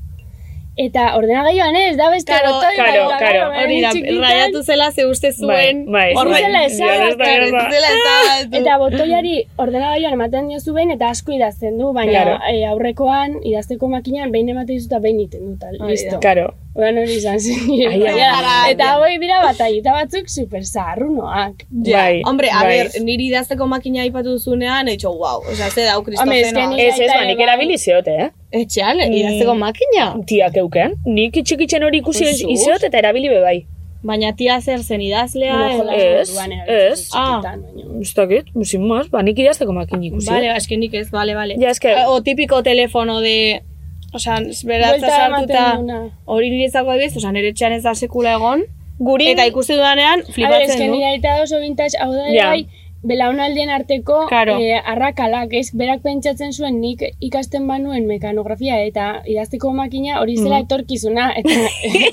Eta ordenagailuan ez, da beste Claro, botoi claro, bat, claro. beraien Hori da, txikitan, raiatu zela ze uste zuen... Bai, bai. horren- Ez dela ezabatu. Ja, ez da, ez da. Ez dela ezabatu. Eta botoiari ordenagailuan ematen diozu behin eta asko idazten du, baina Claro. eh, aurrekoan idazteko makinan behin ematen dizu eta behin iten dut, da. listo. Karo. Oran hori izan zen. nire Ai, ai, baina. ai. Eta hauek dira batailita batzuk super zaharrunoak. Ja, Bai, hombre, a bai. ber, niri idazteko makina aipatu duzunean, etxo, wow, osea, ze dau Hombre, ez kristofena. que ni- Mm. Ez, ez, ba, nik bai. erabili zeote, eh? Etxean, idazteko makina. Tiak euken. Nik itxikitzen hori ikusi Jesus. izeot eta erabili be bai. Baina tia zer zen idazlea. Bueno, edo- jolas ez, moduan erabiltzen ez. txikitan, baina. Ez dakit, musin maz, ba, nik idazteko makin ikusi. eh? Vale, eske nik ez, vale, vale. Ah, Ja, eske- O típico telefono de... Osa, beratza Buelta sartuta ematen duna. hori niretzako egiz, osa, nire etxean ez da sekula egon, Guri, eta ikusi dudanean, A ver, es flipatzen que du. nire aita oso vintage hau da ere Ja. bai, belaunaldien arteko Claro. eh, arrakalak, ez, berak pentsatzen zuen nik ikasten banuen mekanografia eta idazteko makina hori zela etorkizuna, eta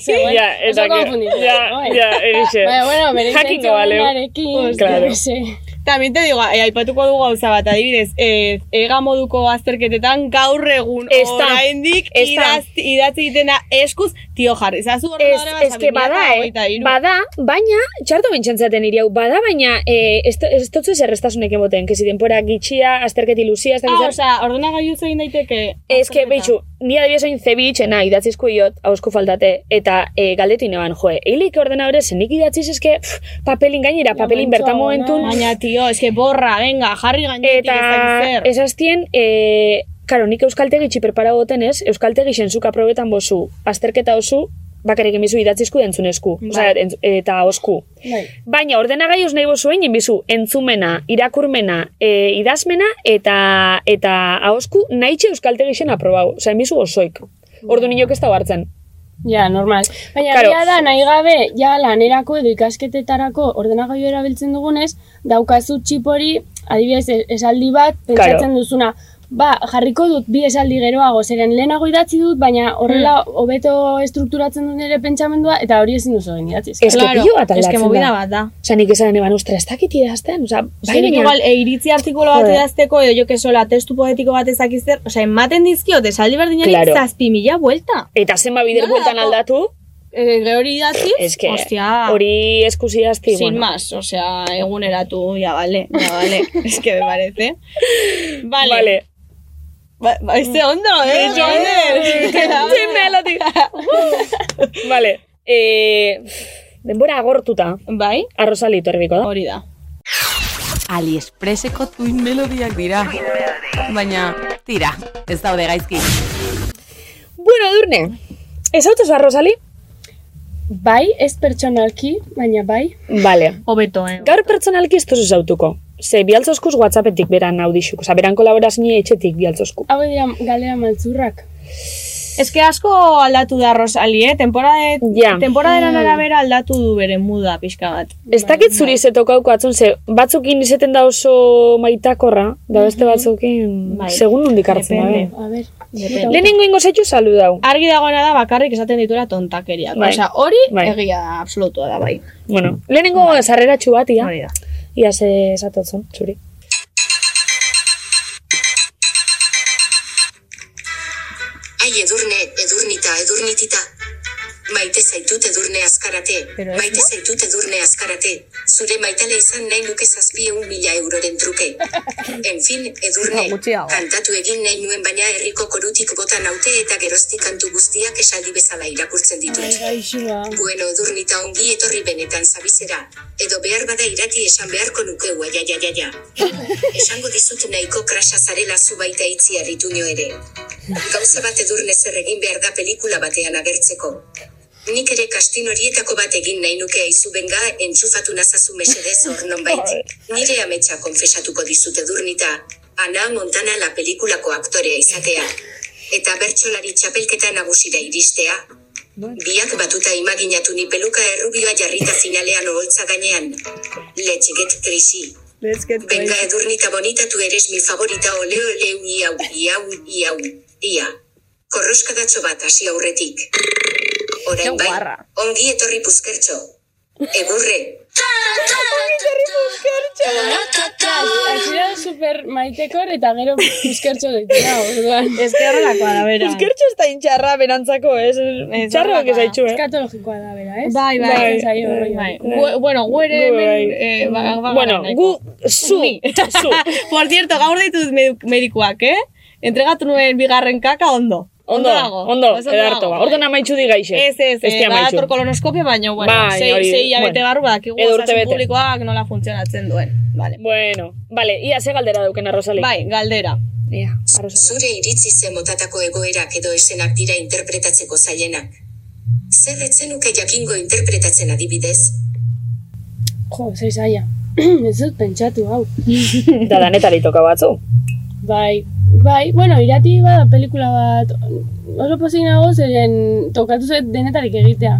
zegoen, Mm. Ja, eta oso que- konfunditua, ja, bai. ja, erixe. Baina, bueno, bere Jakingo baleu. zentzuarekin, Claro. También te digo, eh, aipatuko dugu gauza bat, adibidez, eh, ega moduko azterketetan gaur egun Ez da. oraindik Ez da. idaz- idatzi dena eskuz, tio jarri, zazu Ez, ordenadore ez que bada, eh? Bada, baina, txarto bentsantzeten iriau, bada, baina, eh, ez, to- ez totzu zer errestasunek emoten, kesi denpora gitxia, azterketi luzia, ez Ah, dakit zer. osea, ordena zein daiteke. Ez que, azterketa. behitxu, ni adibidez oin zebitzena idatzizko iot, hauzko faltate, eta e, galdetu neban, joe, eilik ordenadore, zenik idatziz, eske, pff, papelin gainera, papelin bertan mantsoago, momentun, no? Baina, tio, eske borra, venga, jarri gainetik ez dakit Eta zer. esaztien, e, karo, nik euskaltegi txiperpara goten ez, euskaltegi zenzuk aprobetan bozu, azterketa osu, bakarrik bizu idatzizku da entzunezku, Bai. osea, entz- eta osku. Bai. Baina, ordenagai os nahi bozuen, bizu entzumena, irakurmena, e, idazmena, eta, eta ahosku nahitxe euskaltegi zen aprobau, osea, bizu osoik. Ordu Bai. niñok ez da hartzen. Ja, normal. Baina Claro. claro. da, nahi gabe, ja lanerako edo ikasketetarako ordenagailu erabiltzen dugunez, daukazu txipori, adibidez, e- esaldi bat, pentsatzen duzuna, Ba, jarriko dut bi esaldi geroago, zeren lehenago idatzi dut, baina horrela hobeto estrukturatzen dut nire pentsamendua, eta hori ezin duzu egin idatzi. Ez que Claro, pilo bat eske aldatzen movida da. bat da. Osa, nik esan eban, ostra, ez dakit idazten, osa, Bai, bai, baina, igual, e, iritzi artikulu bat Joder. idazteko, edo jo kesola, testu poetiko bat ezakizter, osea, ematen dizkiot, esaldi berdinari Claro. claro. zazpi mila buelta. eta zenba bider Nola bueltan dako? aldatu, E, gero hori idatzi, ez que, ostia, hori eskusi idazti, sin bueno. más, osea, eguneratu, ya vale, ya vale, es que me parece. Vale. Vale. Ba, ba, este ondo, eh? Yo, eh, Tim Melody. Uh. Vale. Eh, denbora agortuta. Bai, Arrozali erbiko da. hori da. Aliexpreseko tuin melodiak dira. Baina, tira, ez daude gaizki. Bueno, Edurne. Ez ba, autoz Arrozali? Bai, ez pertsonalki, baina bai. Vale. Hobeto, eh? Gaur pertsonalki ez tozu zautuko. Ze bialtzoskuz WhatsAppetik beran naudixuk. Osa, beran kolaborazine etxetik bialtzosku. Hau dira galera maltzurrak. Es que asko aldatu da Rosali, eh? Temporada, Ja. temporaderan arabera aldatu du bere muda pixka bat. Ez dakit zuri zetokauko atzun, ze batzukin izeten da oso maitakorra, da beste batzukin Mhm. Bai. segun nondik hartzen da. Depende. be. A ber, Lehenengo ingo zaitu salu dau. Argi dagoena da bakarrik esaten ditura tontakeriak. Bai. Osea, hori Bai. egia da, absolutua da, bai. Bueno, lehenengo sarreratxu bat, ia. Hori da. Ia ze esatotzen, zuri. Ai edurne, edurnita, edurnitita. Maite zaitut edurne azkarate. Pero ez Maite zaitut edurne azkarate. Zure maitale izan nahi nuke zazpi egun mila euroren truke. en fin, edurne, Ba, gutxiago. kantatu egin nahi nuen baina herriko korutik bota naute eta geroztik kantu guztiak esaldi bezala irakurtzen ditut. gaixua. Bueno, edurnita ongi etorri benetan zabizera. Edo behar bada irati esan beharko nuke ua, ja, ja, ja, ja. Esango dizut nahiko krasa zarela zu baita itzi harritu nio ere. Gauza bat edurne zer egin behar da pelikula batean agertzeko. Nik ere kastin horietako bat egin nahi nuke aizu benga entxufatu nazazu mesedez hor nonbait. Nire ametsa konfesatuko dizut edurnita, Ana Montana la pelikulako aktorea izatea. Eta bertsolari txapelketa nagusira iristea. Biak batuta imaginatu ni peluka errubioa jarrita finalean oholtza gainean. Let's get crazy. Venga edurnita bonita tu eres mi favorita oleo oleu iau, iau, iau, ia. Korroskadatxo bat hasi aurretik. Orain bai, ongi etorri puzkertxo. Egurre, Azira super maitekor eta gero buskertxo deitura, orduan. Ez que horrelakoa da, bera. Ezkertxo ez da intxarra berantzako, ez? Txarroak ez aitxu, eh? Eskatologikoa da, bera, ez? Bai, bai. Bai, zaio, bai. Bai. Gu- Bueno, gu ere Gu, hemen, bai. eh, ba- ba- Bueno, nahiko. gu, zu, zu. Por cierto, gaur ditut medu- medikuak, eh? Entregatu nuen bigarren kaka ondo. Ondo, dago. ondo, Oso edarto ba. dago. Orduan amaitxu digaixe. Ez, ez, ez eh, di ba, amaitu. kolonoskopia, baina, bueno, Bai, sei, hori, sei hilabete bueno. barru badakigu Edo osasun urtebete. publikoak nola funtzionatzen duen. Vale. Bueno, vale, ia ze galdera duken arrozali. Bai, galdera. Ia, arrozali. zure iritzi ze motatako egoerak edo esenak dira interpretatzeko zailenak. Zer etzenuke jakingo interpretatzen adibidez? bai. Jo, zer zaila. ez dut pentsatu, hau. Da danetari toka batzu. Bai, bai, bueno, irati bada pelikula bat oso pozik nago zeren tokatu zait denetarik egitea.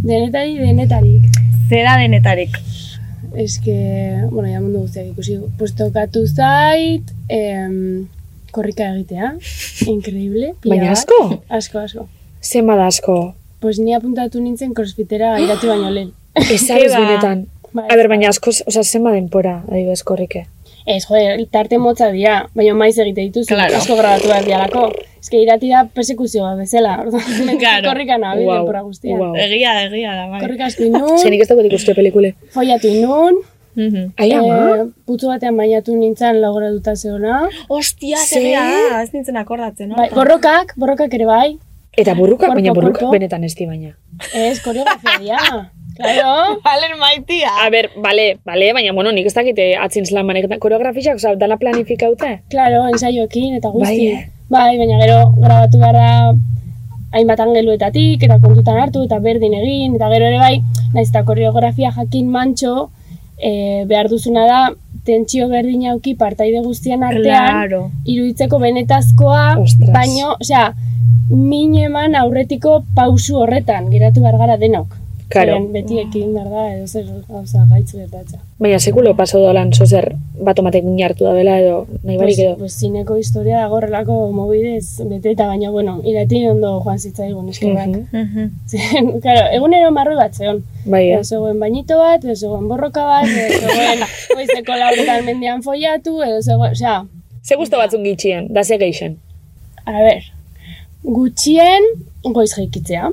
Denetari, denetarik. Zera denetarik. Ez que, bueno, ya mundu guztiak ikusi. Pues tokatu zait, em, korrika egitea. Increíble. pila Baina bat. asko? Asko, asko. Zema da asko. Pues ni apuntatu nintzen crossfitera irati baino lehen. Ez sabes Eba. benetan. Bai. A ber, baina asko, oza, zema denpora, adibidez, korrike. Ez, joder, tarte motza dira, baina maiz egite dituzu, Claro. asko grabatu behar dialako. Ez que irati da persekuzioa bezala, orduan, Claro. korrika nabil, Guau, denbora guztian. guau. Egia, egia da, bai. Korrika asko inun, Zenik ez dago ikuste pelikule. follatu inun, Mhm. Ai, ama? eh, putzu batean bainatu nintzen lau graduta zeona. Ostia, zera da, ez nintzen akordatzen, no? Bai, borrokak, borrokak ere bai, Eta burruka, Korpo, baina burruka korpo. benetan ez di baina. ez, koreografia dira. Claro, Valen maitia. A ber, bale, bale, baina, bueno, nik ez dakite atzin zelan manek koreografixak, oza, dala planifikaute. claro, ensaioekin eta Bai, guzti. eh? Bai, baina gero grabatu behar da hainbat angeluetatik, eta kontutan hartu, eta berdin egin, eta gero ere bai, nahiz eta koreografia jakin mantxo, e, behar duzuna da, tentsio berdin auki partaide guztien artean, Claro. iruditzeko benetazkoa, Ostras. baino, osea, min eman aurretiko pausu horretan, geratu behar gara denok. Claro. Zeren Beti ekin behar da, edo zer gauza gaitz gertatza. Baina sekulo paso dolan zozer bat omatek min hartu da dela edo nahi barik edo. Pues, pues zineko historia dago horrelako mobidez bete eta baina, bueno, iratin ondo joan zitzaigun eskerrak. Mm Mhm. -hmm. claro, egunero marru bat zeon. Bai, eh? Ez zegoen bainito bat, ez zegoen borroka bat, ez zegoen goizeko lauretan mendian follatu, ez zegoen, osea, Ze gusto batzun gitxien, da ze geixen. a ber, gutxien goiz jaikitzea.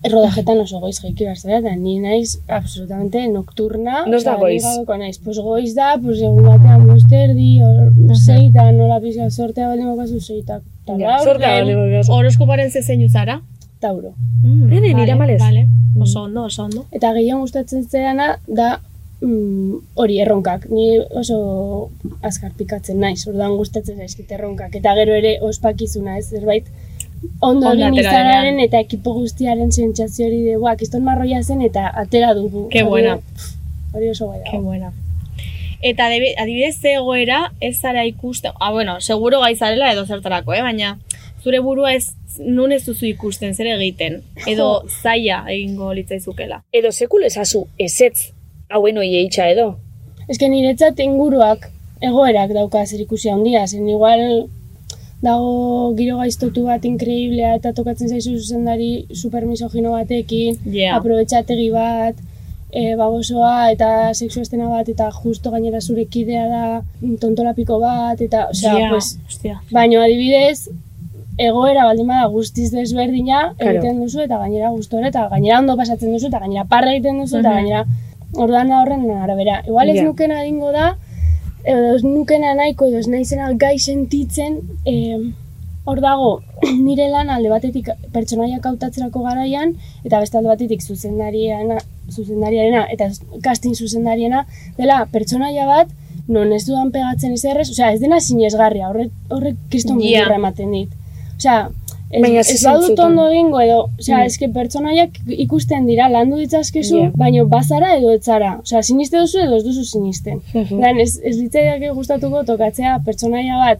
Rodajetan oso goiz jaiki behar zara, eta ni naiz absolutamente nocturna. Noz da Osea, goiz? ni gaueko naiz, pues goiz da, pues egun batean bosterdi, or, zeita, nola pizka sortea baldin bakazu, zeita, eta Ja, bai, laur, Zortea lehen, bale bakazu. Horoskoparen ze zein zara? tauro. Mm, Ene, nire amalez. Vale, oso ondo, oso ondo. Eta gehien gustatzen zedana da mm, hori erronkak. Ni oso azkar pikatzen naiz, orduan gustatzen zaizkit erronkak. Eta gero ere ospakizuna ez zerbait ondo Ondo egin atera izanaren denean. eta ekipo guztiaren sentsazio hori de, buak, izton marroia zen eta atera dugu. Ke Hori- buena. pff, Hori oso bai Qué dago. buena. Eta adebe- adibidez ze egoera ez zara ikusten, ah, bueno, seguro gai zarela edo zertarako, eh? baina zure burua ez nun ez duzu ikusten, zer egiten, edo zaila egingo litzaizukela. Edo sekulo ezazu ezetz hauen oie itxa edo. Ez que niretzat inguruak egoerak dauka zer ikusi handia, zen igual dago giro gaiztotu bat inkreiblea eta tokatzen zaizu zuzendari supermisogino batekin, Yeah. aprobetxategi bat, e, bagosoa eta sexu estena bat, eta justo gainera zure kidea da mm, tontolapiko bat, eta, osea, Ja, pues, hostia. baino adibidez, egoera baldin bada guztiz desberdina Claro. egiten duzu eta gainera gustora eta gainera ondo pasatzen duzu eta gainera parra egiten duzu eta Mhm. gainera orduan da horren arabera. Igual ez Ja. nukena egingo da, edo ez nukena nahiko edo ez naizena gai sentitzen, em, hor dago nire lan alde batetik pertsonaiak hautatzerako garaian eta beste alde batetik zuzendariana, zuzendariarena eta casting zuzendariena dela pertsonaia bat non ez dudan pegatzen ez errez, osea, ez dena sinesgarria, horrek, horrek kriston Ja. yeah. ematen dit. Osea, ez, Baina ez ze badut zentzutan? ondo egingo edo, osea, Mm. eske pertsonaiak ikusten dira, landu ditzazkezu, Ja. baino bazara edo etzara. Osea, siniste duzu edo ez duzu sinisten. Dan, ez, ez litzaidak gustatuko tokatzea pertsonaia bat,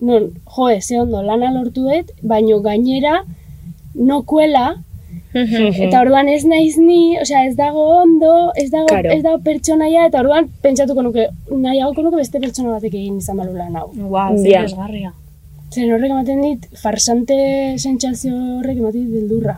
non, jo, ze ondo lana lortu dut, baino gainera, nokuela, Mhm. Eta orduan ez naiz ni, osea, ez dago ondo, ez dago, Claro. ez dago pertsonaia, eta orduan pentsatuko nuke, nahiagoko nuke beste pertsona batek egin izan balu lan hau. Wow, Ja. zer desgarria. Zer horrek ematen dit, farsante sentsazio horrek ematen dit beldurra.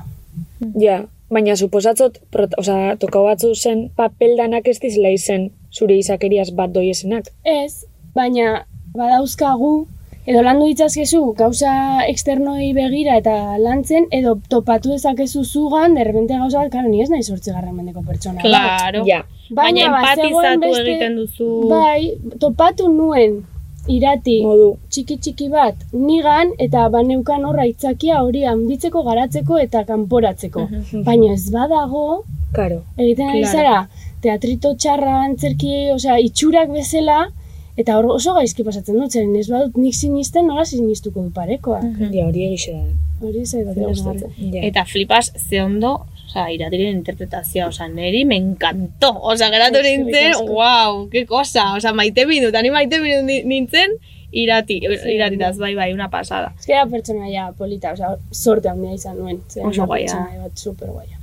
Ja, baina suposatzot, prot, oza, toka batzu zen papeldanak ez dizela izen zure izakeriaz bat doiezenak. Ez, baina badauzkagu, edo landu ditzazkezu gauza eksternoi begira eta lantzen, edo topatu dezakezu zugan, derrepente gauza bat, karo, ni ez nahi sortzigarren mendeko pertsona. Ba, bat. Claro. Ja, Baina bazegoen empatizatu beste- egiten duzu. Bai, topatu nuen irati modu. txiki txiki bat nigan eta baneukan horra itzakia hori handitzeko garatzeko eta kanporatzeko. Baina ez badago, Mhm. Karo. egiten ari Claro. zara, teatrito txarra antzerki, osea, itxurak bezala, eta hor oso gaizki pasatzen dut, zeren ez badut nik sinisten nola sinistuko du parekoa. Mhm. Ja, hori egixe da. Hori zait bat gustatzen. Ja. Eta flipas, ze ondo, oza, iratiren interpretazioa, oza, neri me encantó. Oza, geratu Eskerrik nintzen, asko. wow, que cosa, oza, maite minut, ni maite minut ni- nintzen, irati, eh, iratitaz, bai, bai, una pasada. Ez gara pertsonaia polita, osea, sorte handia izan nuen. Zeren Oso da guaia. pertsonaia bat super guaia.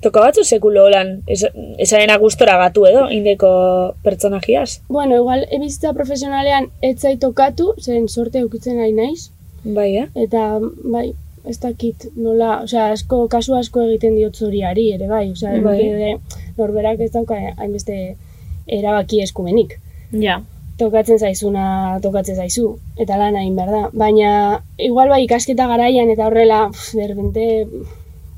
Toka batzu sekulo holan, ez, esaren agustora gatu edo, indeko pertsonajiaz. Bueno, igual, ebizitza profesionalean ez zait tokatu, zeren sorte eukitzen ari naiz, Bai, eh? Eta, bai, ez dakit nola, osea, asko, kasu asko egiten diot zoriari ere, bai, osea, Bai. nik ere norberak ez dauka hainbeste erabaki eskumenik. Ja, Tokatzen zaizuna, tokatzen zaizu, eta lan hain behar da. Baina, igual bai ikasketa garaian eta horrela, pff, de repente,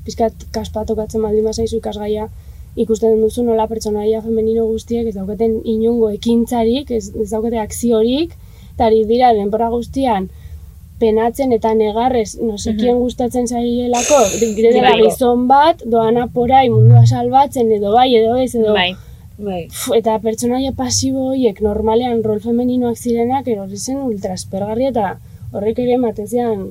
pizkat kaspa tokatzen baldin bazaizu ikasgaia, ikusten duzu nola pertsonaia femenino guztiek ez daukaten inongo ekintzarik, ez, ez daukate akziorik, eta ari dira denbora guztian penatzen eta negarrez nosekien gustatzen zaielako, direla Bai. gizon bat, doana porai mundua salbatzen, edo bai, edo ez, edo bai. Bai. Pf, eta pertsonaia pasibo horiek normalean rol femeninoak zirenak erori zen ultraspergarri eta horrek ere ematen zian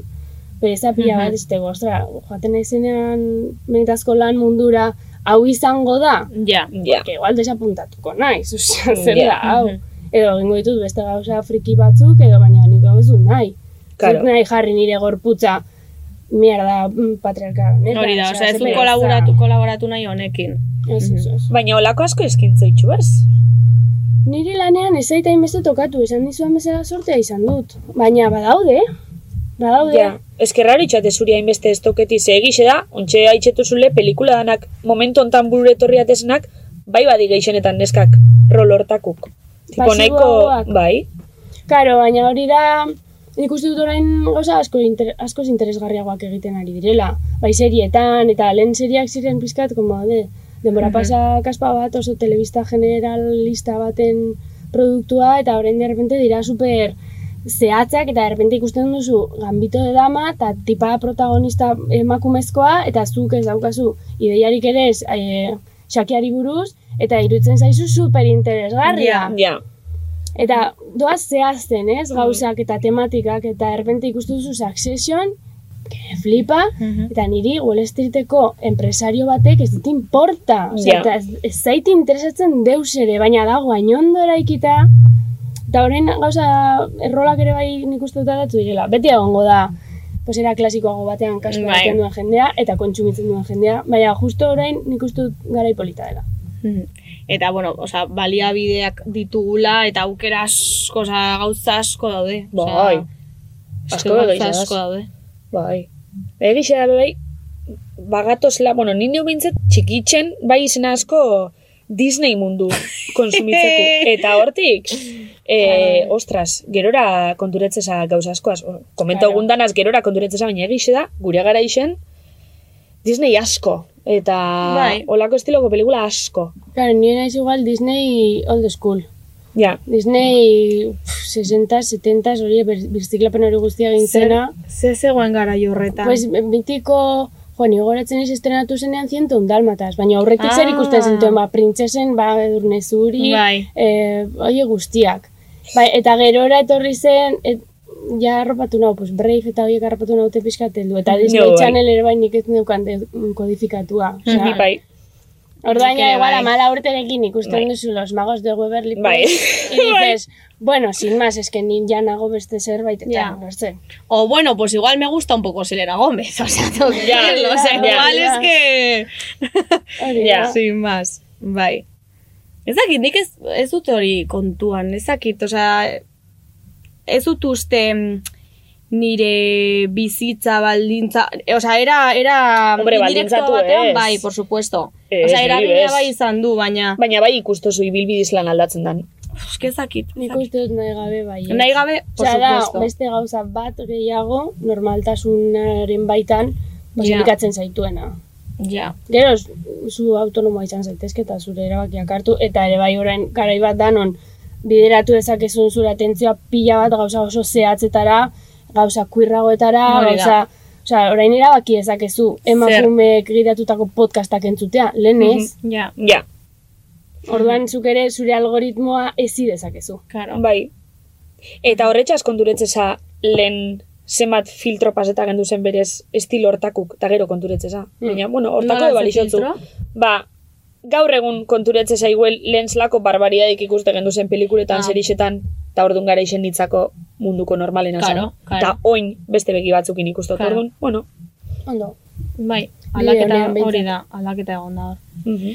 pereza Mhm. pila bat izteko, ostra, joaten naizenean benetazko lan mundura hau izango da, Ja, Ja. que igual desapuntatuko naiz, osea, zer da, Ja. hau. Mhm. Edo egingo ditut beste gauza friki batzuk, edo baina nik hau ez dut nahi. Karo. Zut nahi jarri nire gorputza mierda mm, patriarkal honetan. Hori da, osea, ez ze du pereza. kolaboratu, kolaboratu nahi honekin. Ez, ez, ez. Baina olako asko eskintza itxu ez? Nire lanean ez zait hainbeste tokatu, esan dizuan bezala sortea izan dut. Baina badaude, badaude. Ja, eskerra hori txate zuri hainbeste ez toketi ze egixe da, ontxe haitxetu zule pelikula danak momentu ontan burure etorri ateznak, bai badi geixenetan neskak rol hortakuk. Tipo nahiko, Pasiboagoak. bai, Claro, baina hori da, nik uste dut orain gauza asko inter, askoz interesgarriagoak egiten ari direla. Bai serietan, eta lehen seriak ziren pizkat, como, de, denbora Mhm. pasa kaspa bat oso telebista generalista baten produktua, eta orain de repente dira super zehatzak, eta de repente ikusten duzu gambito de dama, eta tipa protagonista emakumezkoa, eta zuk ez daukazu ideiarik ere ez eh, xakeari buruz, eta iruditzen zaizu super interesgarria. ja. Eta doaz zehazten, ez? Gauzak eta tematikak eta erbente ikustu duzu Succession, que flipa, eta niri Wall Streeteko enpresario batek ez dit importa. Osea, Ja. eta ez, ez zait interesatzen deus ere, baina dago hainondo eraikita. Eta horren gauza errolak ere bai nik uste dut aldatu direla. Beti egongo da, pues era klasikoago batean kasko Bai. egiten duen jendea eta kontsumitzen duen jendea. Baina justo orain nik uste dut garai polita dela. Mhm. Eta, bueno, oza, baliabideak ditugula, eta aukera asko, oza, gauza asko daude. Osea, Bai. eske Asko gauza gauza asko asko. daude. Bai. Egixe da, bai, bagatozla, bueno, nino bintzat txikitzen, bai izena asko Disney mundu konsumitzeko. Eta hortik, e, ostras, gerora konturetzeza gauza askoaz. O, Komenta Claro. claro. danaz gerora konturetzeza, baina egixe da, gure gara izen, Disney asko. Eta Bai. olako estiloko pelikula asko. Claro, nire naiz igual Disney old school. Ja, Disney pf, 60, 70, hori bir- birziklapen hori guztia egin zena. Ze zegoen gara jorretan. Pues mitiko, jo, ni goratzen ez estrenatu zenean 101 dalmatas, baina aurretik zer ikusten Ah. zintuen, ba, printzesen, ba, edurnezuri, Bai. eh, hori guztiak. Bai, eta gerora etorri zen, et, ja harrapatu nau, pues Brave eta horiek harrapatu naute pixkat heldu. Eta Disney Jo, bai. Channel ere bai nik ez neukan de- kodifikatua. ni Osea, bai. Orduan, ja, Nik ere igual, bai. amala urterekin ikusten Bai. duzu los magos de Waverly Bai. Place, y dices, bueno, sin más, es que ni ya nago beste zerbait, eta, Ja. no sé. O bueno, pues igual me gusta un poco Selena Gómez, o sea, tengo que Ya, decirlo, o sea, ya, igual ya. es que... Hori Ja. da. Sin más, bai. Ez dakit, nik ez, ez dut hori kontuan, ez dakit, osea, ez dut uste mm, nire bizitza baldintza, e, osea, era, era Hombre, indirekto baldintzatu batean, ez. bai, por supuesto. Ez, osea, niri eragina bez. bai izan du, baina, Baina bai ikustozu ibilbidiz lan aldatzen dan. Uf, eske ez dakit, ez Nik dakit. uste dut nahi gabe bai. eh. Nahi gabe, por Osea, da, supuesto. beste gauza bat gehiago, normaltasunaren baitan, Ja. posibikatzen zaituena. Ja, Gero, zu- zu autonomoa izan zaitezke eta zure erabakiak hartu, eta ere bai orain garai bat danon bideratu dezakezun zure atentzioa pila bat gauza oso zehatzetara, gauza kuirragoetara, Hori da. gauza... Osea, orain erabaki dezakezu emakumeek gidatutako podcastak entzutea, lehen ez. ja, Ja, Mhm. Orduan zuk ere zure algoritmoa ezi dezakezu. karo. bai. Eta horretxaz konturetzeza lehen zenbat filtro paseta gendu zen berez estilo hortakuk, eta gero konturetzeza. Baina, bueno, hortako Hmm. eba Nola ze lixotzu. filtro? Ba, gaur egun konturetzeza iguel lehen zelako barbariadik ikuste gendu zen pelikuletan, Ah. serixetan, eta ordun gara izen ditzako munduko normalen Claro, claro. Eta oin beste begi batzukin ikustot. Claro. Orduan, bueno. Ondo. Bai, Bide aldaketa onean behintzat. hori da, aldaketa egon da hor. Mhm.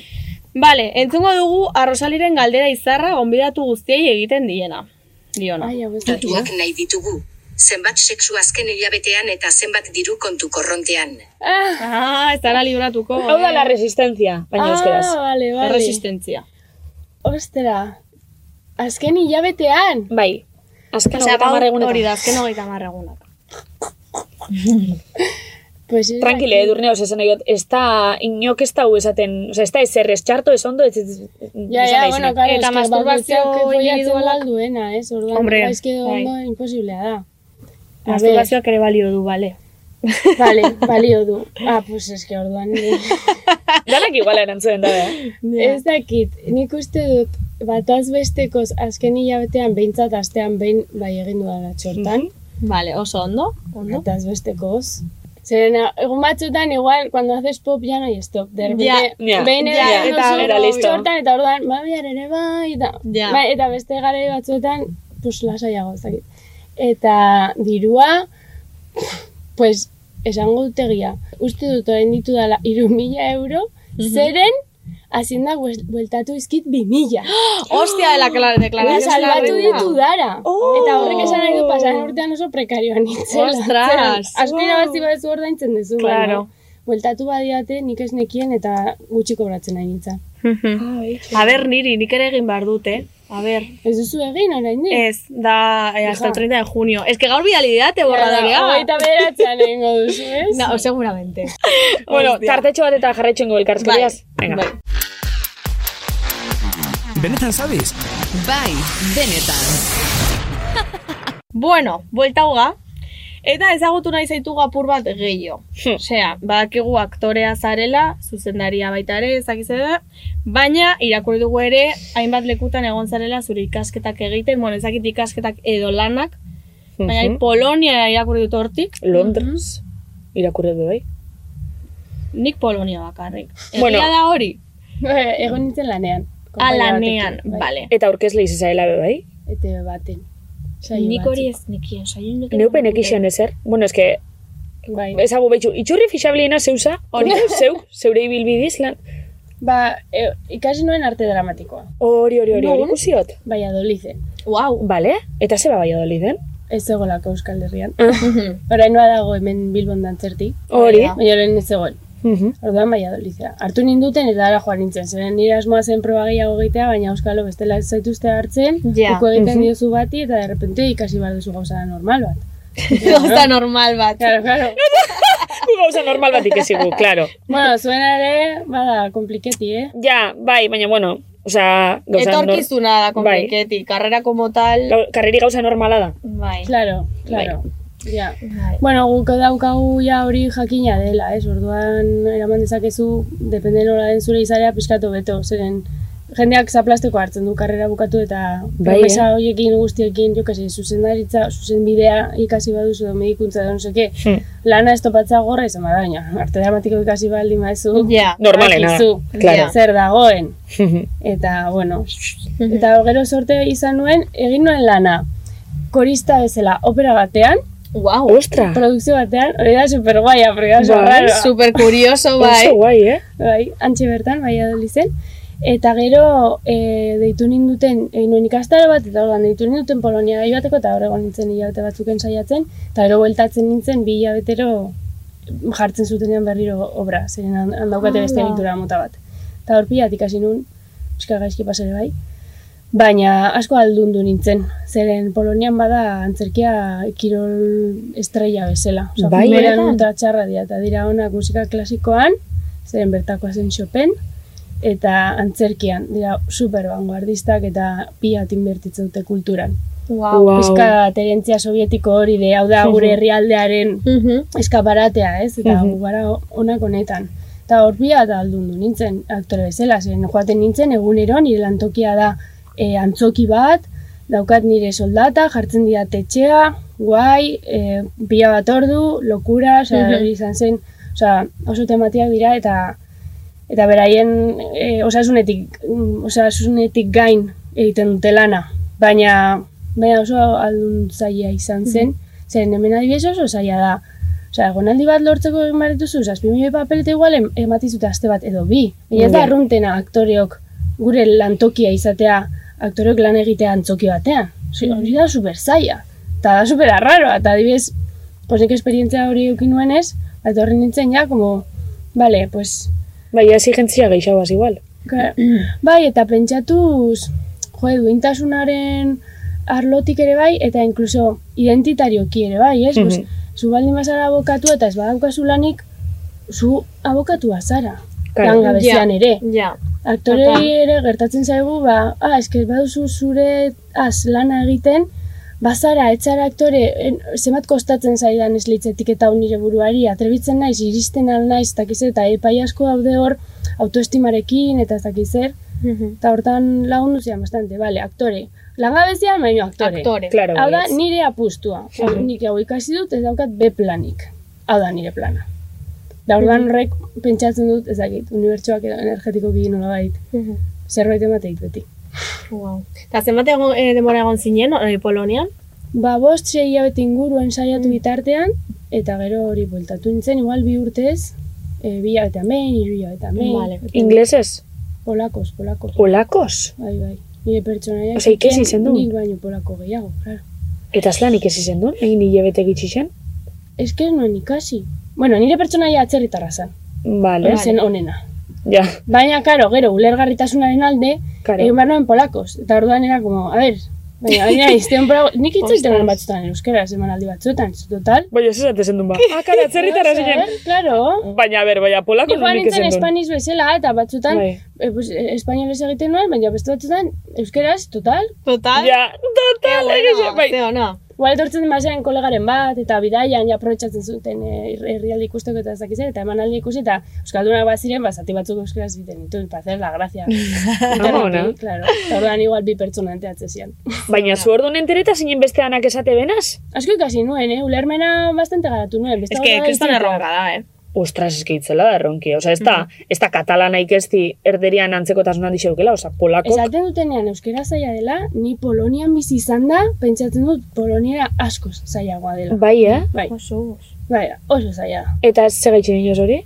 Bale, entzungo dugu arrosaliren galdera izarra gonbidatu guztiei egiten diena. Diona. Ai, hau ez da. Datuak nahi ditugu. Zenbat sexu azken hilabetean eta zenbat diru kontu korrontean. Ah, ez dara libratuko. Hau da eh? la resistencia, baina euskeraz. Ah, vale, bai. vale. Erresistentzia. Ostera. Azken hilabetean. Bai. Azken Osea, hogeita hamar gaur egunetan. hori da, azken hogeita marregunak. Pues ez Tranquile, edurne oso esan nahi dut, ez da inok ez da hu esaten, oza, ez da ezer ez txarto, ez ondo, ez ez... Ja, esan ja, nahi bueno, zenik. claro, Eta eta masturbazio masturbazio indibidualak- individualak duena, ez? Orduan, Hombre, Hombre, gaizki edo bai. ondo imposiblea da. A Masturbazioak ere balio du, bale. ber, Vale, balio du. Ah, pues es que orduan. ni- Danak iguala erantzuen da, eh? ez dakit, nik uste dut, bataz bestekoz azken hilabetean, behintzat astean behin bai egin dudala txortan. Bale, oso ondo, ondo. Bataz bestekoz. Zeren, egun batzutan, igual, cuando haces pop, ya no hay stop. De repente, Ja, ja, behin ja, ere, eta oso era listo. txortan, eta orduan, babiar ere bai, eta, Ja. bai, eta beste garai batzuetan, pues lasaiago, ez dakit. Eta dirua, pues, esango dutegia, uste dut orain ditu dala iru mila euro, Mhm. zeren, hazienda buel- bueltatu izkit bi mila. Hostia, de la clara- declaración Eta salbatu de la Oh. renta. ditu dara. Eta horrek esan nahi du pasan urtean oso prekarioan nintzela. Ostras! Zeren, Aspira bat zibazu ordaintzen duzu. baina Claro. Bueltatu badiate nik ez nekien eta gutxi kobratzen nahi nintzen. A ber, niri, nik ere egin behar dut, eh? A ber. Ez duzu egin, orain Ez, da, eh, hasta el Hija. 30 de junio. Ez que gaur bidali didate borradorea. Hogeita bederatzean egingo duzu, ez? No, seguramente. Bueno, tartetxo bat eta jarraitxengo Bai, elkarrezkeriaz. Venga. Benetan zabiz? Bai, benetan. Bueno, buelta hoga. Eta ezagutu nahi zaitu apur bat gehiago. Osea, badakigu aktorea zarela, zuzendaria baita ere, ezakize da, baina irakurri dugu ere, hainbat lekutan egon zarela zure ikasketak egiten, bueno, ezakit ikasketak edo lanak, baina bai Mhm. Polonia irakurri dut hortik. Londres, Mm-hmm. irakurri du bai. Nik Polonia bakarrik. Bueno. Egia da hori? Bai, Egon nintzen lanean. Ah, Konpainia Alanean, batekin, vale. Eta aurkezle izazaela be bai. Ete baten. Saio Nik hori ez batzuk. nekien, saio nekien. Neupen Mm-hmm. ekixen ezer. Bueno, ez que... Bai. Ezagu behitxu, itxurri fixabliena zeuza, hori zeuk, zeure ibilbidiz lan. Ba, e, ikasi nuen arte dramatikoa. Bai, Hori, hori, hori, hori Non? ikusiot. Valladoliden. Wow. Vale, eta zeba bai adoliden. Ez egolako Euskal Herrian. Orain badago hemen Bilbon dantzerti. Hori. Mhm. Baina orain ez egon. Orduan Valladolidera. Hartu ninduten eta ara joan nintzen. Zeren nire asmoa zen proba gehiago egitea, baina Euskalo bestela ez zaituzte hartzen. Ja. Uko egiten Mhm. diozu bati eta derrepente ikasi behar duzu gauza normal bat. Gauza normal bat. Claro, claro. Gauza normal bat ikesigu, claro. Bueno, zuena ere, bada, kompliketi, eh? Ja, bai, baina bueno, osea, gauza... nor- Etorkizuna da, Bai. kompliketi, karrera como tal... Gau- Karreri gauza normala da. Bai. Claro, claro. Ja. Bueno, guk daukagu ja hori jakina dela, ez? Orduan eraman dezakezu, depende nola den zure izarea pizkatu beto, zeren jendeak zaplasteko hartzen du karrera bukatu eta Bai, promesa eh? horiekin guztiekin, jo kasi, zuzendaritza, zuzenbidea ikasi baduzu edo medikuntza edo no seke, Hmm. lana estopatza gorra izan badaina. Arte dramatiko ikasi baldin baduzu. Ja. Normalena da, badakizu claro. Zer dagoen. Eta, bueno, eta gero sorte izan nuen, egin nuen lana, korista bezala, opera batean, Wow, ostra. Produkzio batean, hori da super guaia, porque da oso Bai, raro. super curioso, bai. Oso guai, eh? Bai, antxe bertan, bai adolizen. Eta gero, e, deitu ninduten, egin nuen ikastaro bat, eta ordan deitu ninduten Polonia gai bateko, eta hor egon nintzen hilabete batzuken saiatzen, eta gero bueltatzen nintzen, bi hilabetero jartzen zutenean berriro obra, zeren han- han daukate Ah, beste Ala. egitura mota bat. Eta hor pilat ikasi nun, pixka gaizki pasere bai, Baina asko aldundu nintzen, zeren Polonian bada antzerkia kirol estrella bezala. Osa, Bai, futbolean benetan? ultra txarra dira, eta dira honak musika klasikoan, zeren bertakoa zen Chopin, eta antzerkian, dira super vanguardistak eta piat inbertitzen dute kulturan. Wow. Pizka terientzia sovietiko hori de, hau da gure Mhm. herrialdearen eskaparatea, ez? Eta gu gara honak honetan. Eta hor pila eta aldundu nintzen, aktore bezala, zen joaten nintzen, egunero nire lantokia da e, antzoki bat, daukat nire soldata, jartzen dira tetxea, guai, e, pila bat ordu, lokura, osea, Mhm. hori izan zen, osea, oso tematiak dira eta eta beraien e, osasunetik, mm, osasunetik gain egiten dute lana. Baina, baina oso aldun zaila izan zen, zeren hemen adibidez oso zaila da. Osea, egonaldi bat lortzeko egin behar dituzu, zazpi milioi papel eta igual em- ematizuta aste bat edo bi. Baina ez da Ja. arruntena aktoreok gure lantokia izatea, aktoreok lan egitea antzoki batean. Osea, hori da super zaila. Eta da super arraroa, eta adibidez, pues nik esperientzia hori eukin nuenez, ba, etorri nintzen ja, como, vale, pues, Bai, exigentzia geixabaz igual. Ka- Mm. Bai, eta pentsatuz, jo, duintasunaren arlotik ere bai, eta inkluso identitarioki ere bai, ez? Pues, Mhm. zu baldin bazara abokatu eta ez badaukazu lanik, zu abokatua zara. Claro. Langabezian Ja, ere. Ja. Total. Aktorei ere gertatzen zaigu, ba, ah, eske baduzu zure az lana egiten, bazara, etzara aktore, en, zenbat kostatzen zaidan ez litzetik eta hau nire buruari, atrebitzen naiz, iristen al naiz, takiz eta epai asko daude hor, autoestimarekin, eta ez dakiz zer, eta hortan lagundu zian bastante, bale, aktore. Langabezian, baino aktore. Aktore. Claro, hau da, baietz. nire apustua. Hau, Nik hau ikasi dut, ez daukat B planik. Hau da, nire plana. Da orduan horrek pentsatzen dut, ez dakit, unibertsoak energetiko gini nola bait, zerbait emateit beti. Wow. Eta zenbat egon, eh, denbora egon zinen, eh, Polonian? Mm. Ba, bost sei hilabete inguruen saiatu bitartean, Eta gero hori bueltatu nintzen, igual bi urtez, e, bi eta behin, hiru eta behin. Vale. Inglesez? Polakos, polakos. Polakos? Bai, bai. Nire pertsonaia. Osea, ikesi zen du? Nik baino polako gehiago, claro. Eta azlan ikesi zen du? Egin hilabete gitsi zen? Ez que nuen ikasi. Bueno, nire pertsonaia atzerritarra zen. Vale. Ez zen onena. Ja. Baina, karo, gero, ulergarritasunaren alde, claro. egin behar nuen polakos. Eta orduan era, como, a ver, Baina, baina, izten brau, nik itzaiten hori batzutan euskera, emanaldi batzuetan, zu total. Baina, ez esate zen duen ba. Ah, kara, atzerritarra zinen. Claro. Baina, ber, baina, polako Joan nunik nintzen ezen duen. espaniz bezala, eta batzutan, Bai. e, pues, espainolez egiten nuen, baina beste batzutan, euskeraz, total. Total. Ja, total, egizu, bai. Ze ona. Igual etortzen basaren kolegaren bat, eta bidaian, ja aprobetsatzen zuten eh, herrialde ikusteko eta ez dakiz zer, eta emanaldi ikusi, eta euskaldunak bat ziren, ba, zati batzuk euskeraz biten ditu, para hacer la gracia. Eta Amona. beti, claro. Eta orduan igual bi pertsona anteatzen zian. Baina, zu orduan entereta zinen beste anak esate benaz? Asko ikasi nuen, eh? Ulermena bastante garatu nuen. Ez beste que, gauza da kriston distinta. erronka da, eh? Ostras, eske itzela da erronki. Osa, ez da, Mm-hmm. ez da katalana ikesti erderian antzekotasuna dixeukela, osa, polakok. Esaten dutenean euskera zaila dela, ni Polonian bizi izan da, pentsatzen dut Poloniera askoz zailagoa dela. Bai, eh? Bai, Oso. bai, oso zaila. da. Eta ze gaitxin inoz hori?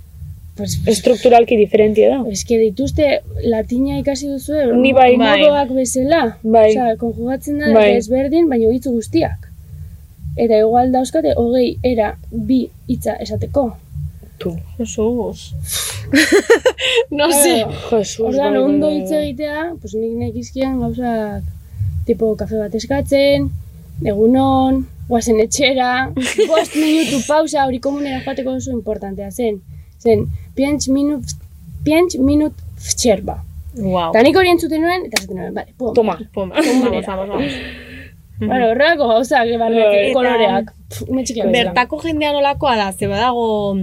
Pues, Estrukturalki diferentia da. eske dituzte latina ikasi duzu, Ni bai. modoak bezala. Bai. Osea, konjugatzen da Bai. ezberdin, baina hitz guztiak. Eta igual dauzkate, hogei, era, bi hitza esateko. Tu. Jesús. no sé. Jesus, Ordan bai, bai, ondo bai, hitz bai. egitea, pues nik nekizkian gauzak tipo kafe bat eskatzen, egunon, guazen etxera, bost minutu pausa hori komunera joateko oso importantea zen. Zen, piench minut, piench minut fcherba. Wow. Eta nik hori entzuten nuen, eta zaten nuen, bale, pum. Toma. Pum, vamos, vamos, vamos. Bueno, horrelako gauzak, eh, barne, Eta- koloreak. Pf, Ume txikia bezala. Bertako jendea nolakoa da, ze badago...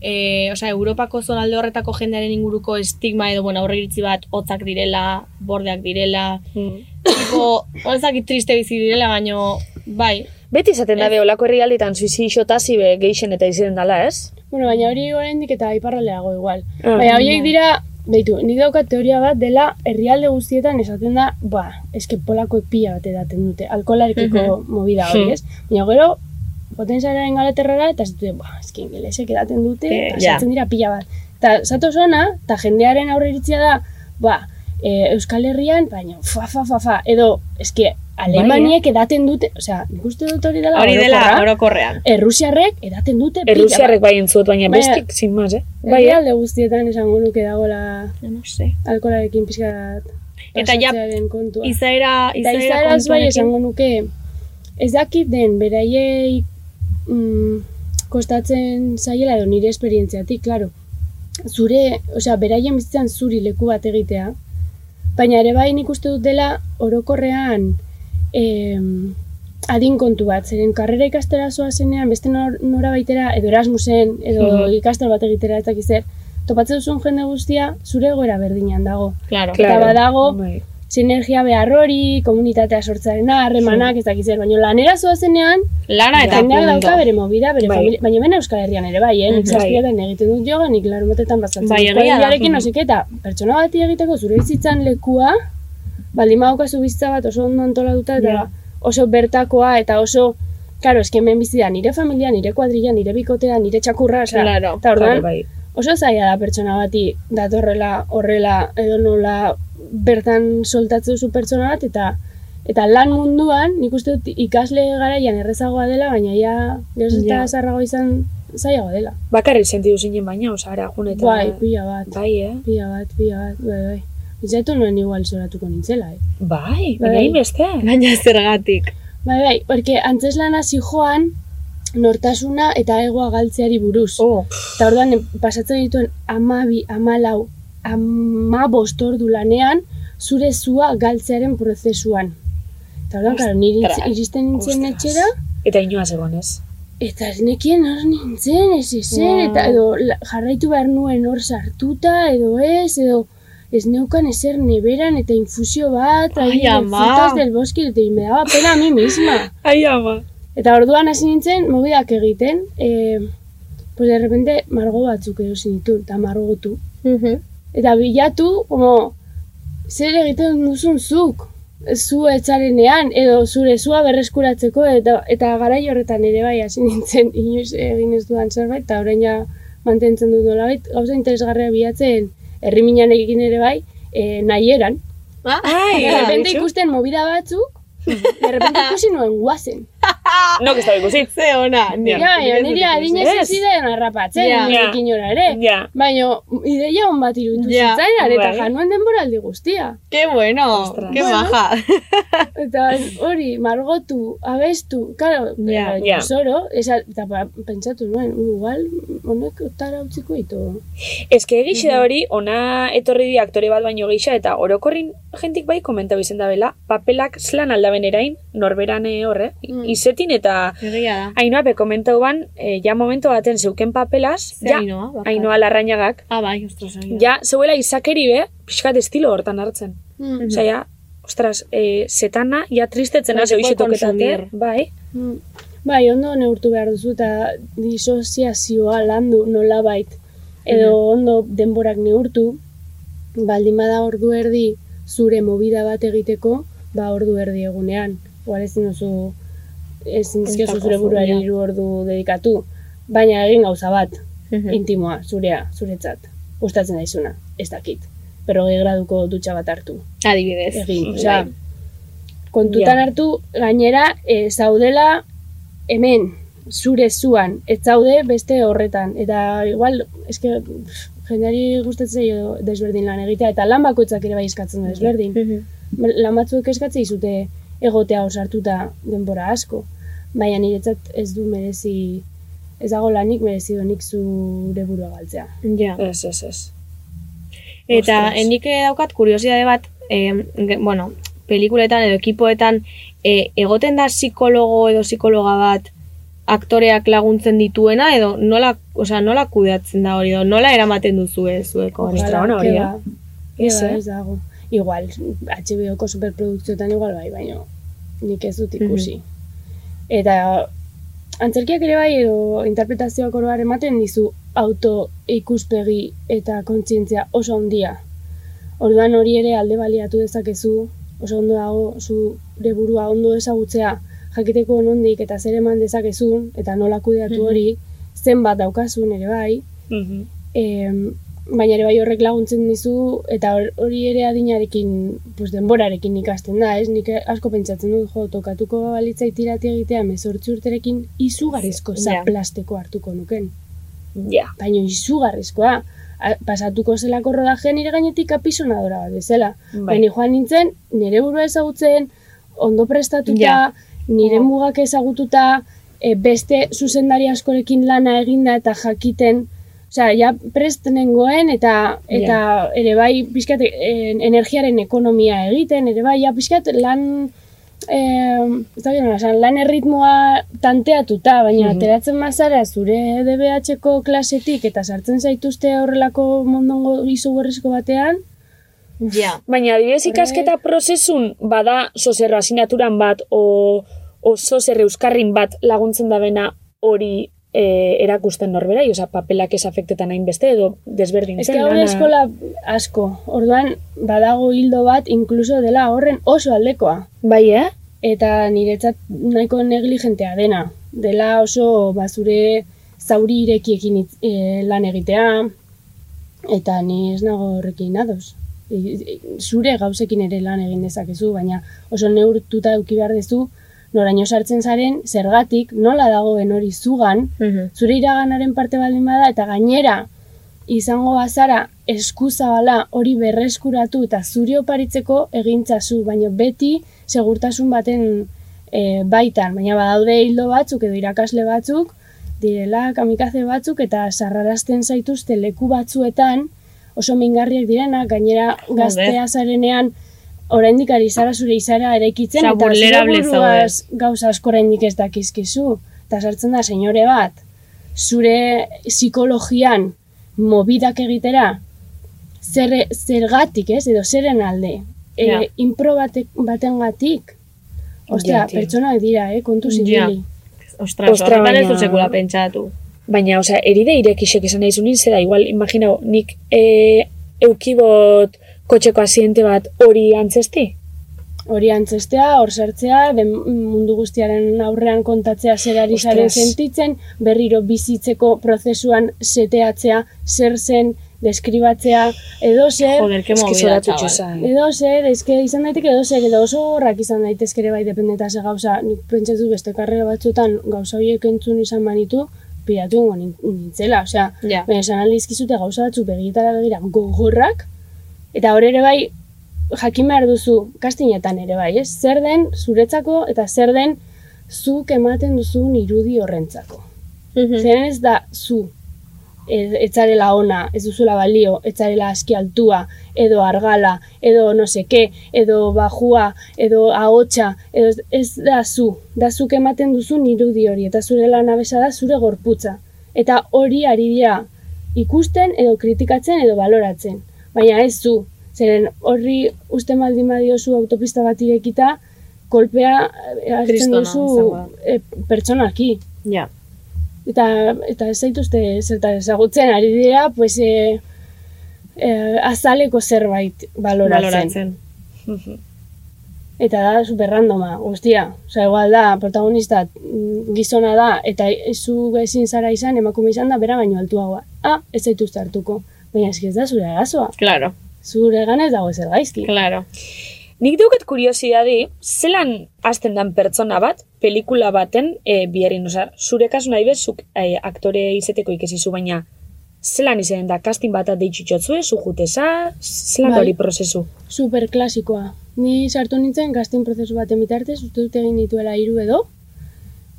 E, osea, Europako zonalde horretako jendearen inguruko estigma edo, bueno, aurreiritzi bat, hotzak direla, bordeak direla, tipo, horrezakit triste bizi direla, baino, bai, Beti izaten dabe olako herrialditan suizi xotasi be geixen eta iziren dala, ez? Bueno, baina hori oraindik eta iparraldeago igual. Ah. Baina horiek dira, beitu, nik daukat teoria bat dela herrialde guztietan esaten da, ba, eske polakoek pila bat edaten dute, alkoholarikiko movida hori, Hmm. ez? Baina gero, boten zara engalaterrara, eta ez dute, ba, eske ingelesek edaten dute, Eh, eta ja. sartzen dira pila bat. Eta zato zona, eta jendearen aurre iritzia da, ba, e, Euskal Herrian, baina, fa, fa, fa, fa, edo, eske, Alemaniek edaten dute, osea, nik uste dut hori dela hori dela Ah, orokorra. orokorrean. Errusiarrek edaten dute pila bat. Errusiarrek bai entzut, baina Baina- bestik, sin más, eh? Bai, Bai, eh? alde guztietan esango nuke dagoela No sé. alkolarekin pixka bat Eta ja, pasatzearen kontua. Izaera, Eta izaera izaeraz bai kontuarekin. esango nuke ez dakit den beraiei mm, kostatzen zaiela edo nire esperientziatik, claro. Zure, osea, beraien bizitzan zuri leku bat egitea. Baina ere bai nik uste dut dela orokorrean em, adin kontu bat, zeren karrera ikastera zoa zenean, beste nor, nora baitera, edo Erasmusen, edo Mhm. ikastaro bat egitera ez dakizer, topatzen duzun jende guztia zure egoera berdinean dago. Claro. Eta badago, Bai. sinergia behar hori, komunitatea sortzarena, harremanak, ez dakiz zer, baina lanera zoazenean, Lana eta jendeak dauka punto. bere movida, bere Bai. familia, baina bena Euskal Herrian ere bai, eh? nik Mhm. zazpietan egiten dut joga, nik larun batetan bazatzen Bai, dut egia da. koadrilarekin, Mhm. no seke, eta pertsona bati egiteko zure bizitzan lekua, baldin badaukazu bizitza bat oso ondo antolatuta eta Ja. oso bertakoa eta oso, karo, eske hemen bizi da nire familia, nire kuadrilla, nire bikotea, nire txakurra, osea, Claro, eta orduan, Claro, bai. oso zaila da pertsona bati datorrela horrela edo nola bertan soltatzen duzu pertsona bat eta eta lan munduan nik uste dut ikasle garaian errezagoa dela baina ja geroz eta Ja. zarrago izan zailagoa dela Bakarrik sentidu zinen baina, osa, ara, junetan. bai, pila bat, Bai, eh? pila bat, pila bat, bai, bai Bizaitu nuen igual zoratuko nintzela, eh? Bai, Bai. baina beste. Baina zergatik. Bai, bai, porque antzeslan hasi joan nortasuna eta egoa galtzeari buruz. Oh, Eta orduan pasatzen dituen amabi, amalau, amabost ordu lanean zure zua galtzearen prozesuan. Eta orduan, karo, niri Ostras. iristen nintzen Ostras. etxera, eta inoa zegoen ez. eta ez nekien hor nintzen, ez ezer, Wow. eta edo la- jarraitu behar nuen hor sartuta, edo ez, edo ez neukan ezer neberan eta infusio bat, Ai, ahí de ama. frutas del bosque, eta me daba pena a mí misma. Ai, ama. Eta orduan hasi nintzen, mobidak egiten, eh, pues de repente margo batzuk erosi ditu, eta margotu. Eta bilatu, como, zer egiten duzun zuk. zu etxarenean, edo zure zua berreskuratzeko, eta, eta garai horretan ere bai hasi nintzen inoiz egin ez duan zerbait, eta orain ja mantentzen dut nola bait, gauza interesgarria bilatzen, herri minanekin ere bai, e, nahi eran. Ah, Derrepente ikusten mobida batzuk, derrepente ikusi nuen guazen. No, que estaba ikusi. Ze ona. Ja, baina nire adinez ez zidan arrapatzen, Ja. nirekin ora ere. Ja. Baina ideia hon bat iruditu Ja, zitzaidan, eta bai. januen denboraldi guztia. Qué bueno, qué Bueno. maja. Eta hori, margotu, abestu, karo, Ja, pero ja. zoro, esa, eta pa- pentsatu nuen, "U, igual, honek otara utziko ditu. Ez que egixe da hori, ona etorri di aktore bat baino geixa, eta orokorrin jentik bai komentau izen da bela, papelak slan aldaben erain, norberan eh, horre, Mm. izetin eta Egia da. hainoape komentau ban, eh, ja momento baten zeuken papelaz, Ze ja, Ainhoa, bakat. hainoa larrañagak, Ah, bai, ostras, egia. ja, zeuela izakeri be, pixkat estilo hortan hartzen. Mhm. Mhm, Osea, ja, ostras, eh, zetana, ja tristetzen Bai, hasi se hoxe puede toketate, consumir. bai, Mm. Bai, ondo neurtu behar duzu eta disoziazioa landu nolabait. Edo Mm. ondo denborak neurtu, baldin bada ordu erdi zure mobida bat egiteko, ba ordu erdi egunean. Igual ezin duzu, ezin dizkiozu Eztako zure buruari zuria. hiru ordu dedikatu. Baina egin gauza bat, Mm. Mhm. intimoa, zurea, zuretzat. Gustatzen daizuna, ez dakit. Pero graduko dutxa bat hartu Adibidez. egin. Osea, kontutan Ja. hartu, gainera, e, zaudela hemen, zure zuan, ez zaude beste horretan. Eta igual, eske, pff, jendeari gustatzen zaio desberdin lan egitea, eta lan bakoitzak ere bai eskatzen du Mm. desberdin. Mhm. Lan batzuek eskatzen dizute egotea osartuta denbora asko. Baina niretzat ez du merezi, ez dago lanik merezi nik zure burua galtzea. Ja. ez, ez, ez. Eta Ostras. nik eh, daukat kuriosidade bat, eh, ge- bueno, pelikuletan edo ekipoetan eh, egoten da psikologo edo psikologa bat aktoreak laguntzen dituena edo nola, osea, nola kudeatzen da hori edo nola eramaten duzu eh, zueko hori. Ostra, Gara, ona hori, ke eh? ba, ke Ez, ba, eh? ez dago. Igual, HBO-ko superprodukzioetan igual bai, baino nik ez Mhm. dut ikusi. Eta antzerkiak ere bai edo interpretazioak oroar ematen dizu auto ikuspegi eta kontzientzia oso handia. Orduan hori ere alde baliatu dezakezu, oso ondo dago zure burua ondo ezagutzea, jakiteko nondik eta zer eman dezakezun eta nola kudeatu hori, zenbat daukazun ere bai, Mhm. em, baina ere bai horrek laguntzen dizu eta hor- hori ere adinarekin, pues, denborarekin ikasten da, ez? Nik asko pentsatzen dut, jo, tokatuko balitzai tirati egitea 18 urterekin izugarrizko za Ja. plastiko hartuko nuken. Ja, Baina izugarrizkoa, A- pasatuko zelako rodaje nire gainetik apisonadora bat bezala. Bai. Baina joan nintzen, nire burua ezagutzen, ondo prestatuta, Ja. nire mugak ezagututa, e, beste zuzendari askorekin lana eginda eta jakiten, osea, ja prest nengoen eta eta ere bai pixkat en, energiaren ekonomia egiten, ere bai ja pixkat lan eh, ez dakit nola esan, lan erritmoa tanteatuta, baina ateratzen bazara zure E DBH-ko klasetik eta sartzen zaituzte horrelako mondongo izugarrizko batean, Ja. Baina, adibidez ikasketa prozesun bada sozer asinaturan bat o, o sozer euskarrin bat laguntzen dabena hori eh, erakusten norbera, oza, papelak ez afektetan hainbeste edo desberdin Ez que hau eskola asko, orduan badago hildo bat inkluso dela horren oso aldekoa. Bai, eh? Eta niretzat nahiko negligentea dena. Dela oso bazure zauri irekiekin hitz- eh, lan egitea, eta ni ez nago horrekin ados. I- i- Zure gauzekin ere lan egin dezakezu, baina oso neurtuta eduki behar dezu, noraino sartzen zaren, zergatik, nola dagoen hori zugan, Mhm. zure iraganaren parte baldin bada, eta gainera izango bazara eskuzabala hori berreskuratu eta zuri oparitzeko egintzazu, baina beti segurtasun baten e, baitan, baina badaude hildo batzuk edo irakasle batzuk, direla kamikaze batzuk eta sarrarazten zaituzte leku batzuetan oso mingarriak direnak, gainera gaztea zarenean oraindik ari zara zure izara eraikitzen Osea, eta zure vulnerable buruaz gauza asko oraindik ez dakizkizu. Eta sartzen da senyore bat, zure psikologian mobidak egitera, zer, zergatik, ez, edo zeren alde, e, Ja. inpro bate, baten gatik, ostia, Ja, tio. pertsonak dira, eh, kontu Ja. zibili. Ostras, Ostra, horretan ez baina- dut sekula pentsatu. Baina, oza, eride irekisek esan nahi zunin, zera, igual, imaginau, nik e, eukibot kotxeko asiente bat hori antzesti? hori antzestea, hor sartzea, den mundu guztiaren aurrean kontatzea zer ari zaren Ostras. sentitzen, berriro bizitzeko prozesuan seteatzea, zer zen, deskribatzea, edo zer... Joder, ke movida, chaval. Bai. Edo zer, eske izan daiteke edo zer, edo oso horrak izan daitezke ere bai dependeta ze gauza, nik pentsatu beste karrera batzutan gauza horiek entzun izan manitu, pilatu ingo nin- nintzela, osea, Ja. baina esan aldizkizute gauza batzuk begitara begira gogorrak, Eta hor ere bai, jakin behar duzu, kastinetan ere bai, ez? Zer den zuretzako eta zer den zuk ematen duzun irudi horrentzako. Mhm. Zeren ez da zu, ez, etzarela ona, ez duzula balio, etzarela aski altua, edo argala, edo no seke, edo bajua, edo ahotsa, edo ez- ez da zu, da zuk ematen duzun irudi hori, eta zure lan abesa da zure gorputza. Eta hori ari dira ikusten edo kritikatzen edo baloratzen. Baina ez zu, zeren horri usten baldin badiozu autopista bat irekita, kolpea eh, hartzen Kristona izango duzu da. e, pertsonaki. Ja. Eta, eta ez zaituzte zertan ezagutzen, ari dira, pues, e, e, azaleko zerbait baloratzen. Baloratzen. Eta da, superrandoma, guztia. Osa, igual da, protagonista mm, gizona da, eta e- zu ezin zara izan, emakume izan da, bera baino altuagoa. Ah, ez zaituzte hartuko. Baina eski ez da zure arazoa. Claro. Zure ganez dago zer gaizki. Claro. Nik deuket kuriosidadi, zelan hasten dan pertsona bat, pelikula baten e, biherin, oza, zure kasu nahi bezuk e, aktore izeteko ikesizu, baina zelan izen da, kastin bat deitxitxotzue, zu jutesa, zelan da Bai. hori prozesu. Super klasikoa. Ni sartu nintzen gaztin prozesu baten bitartez, uste dut egin dituela hiru edo.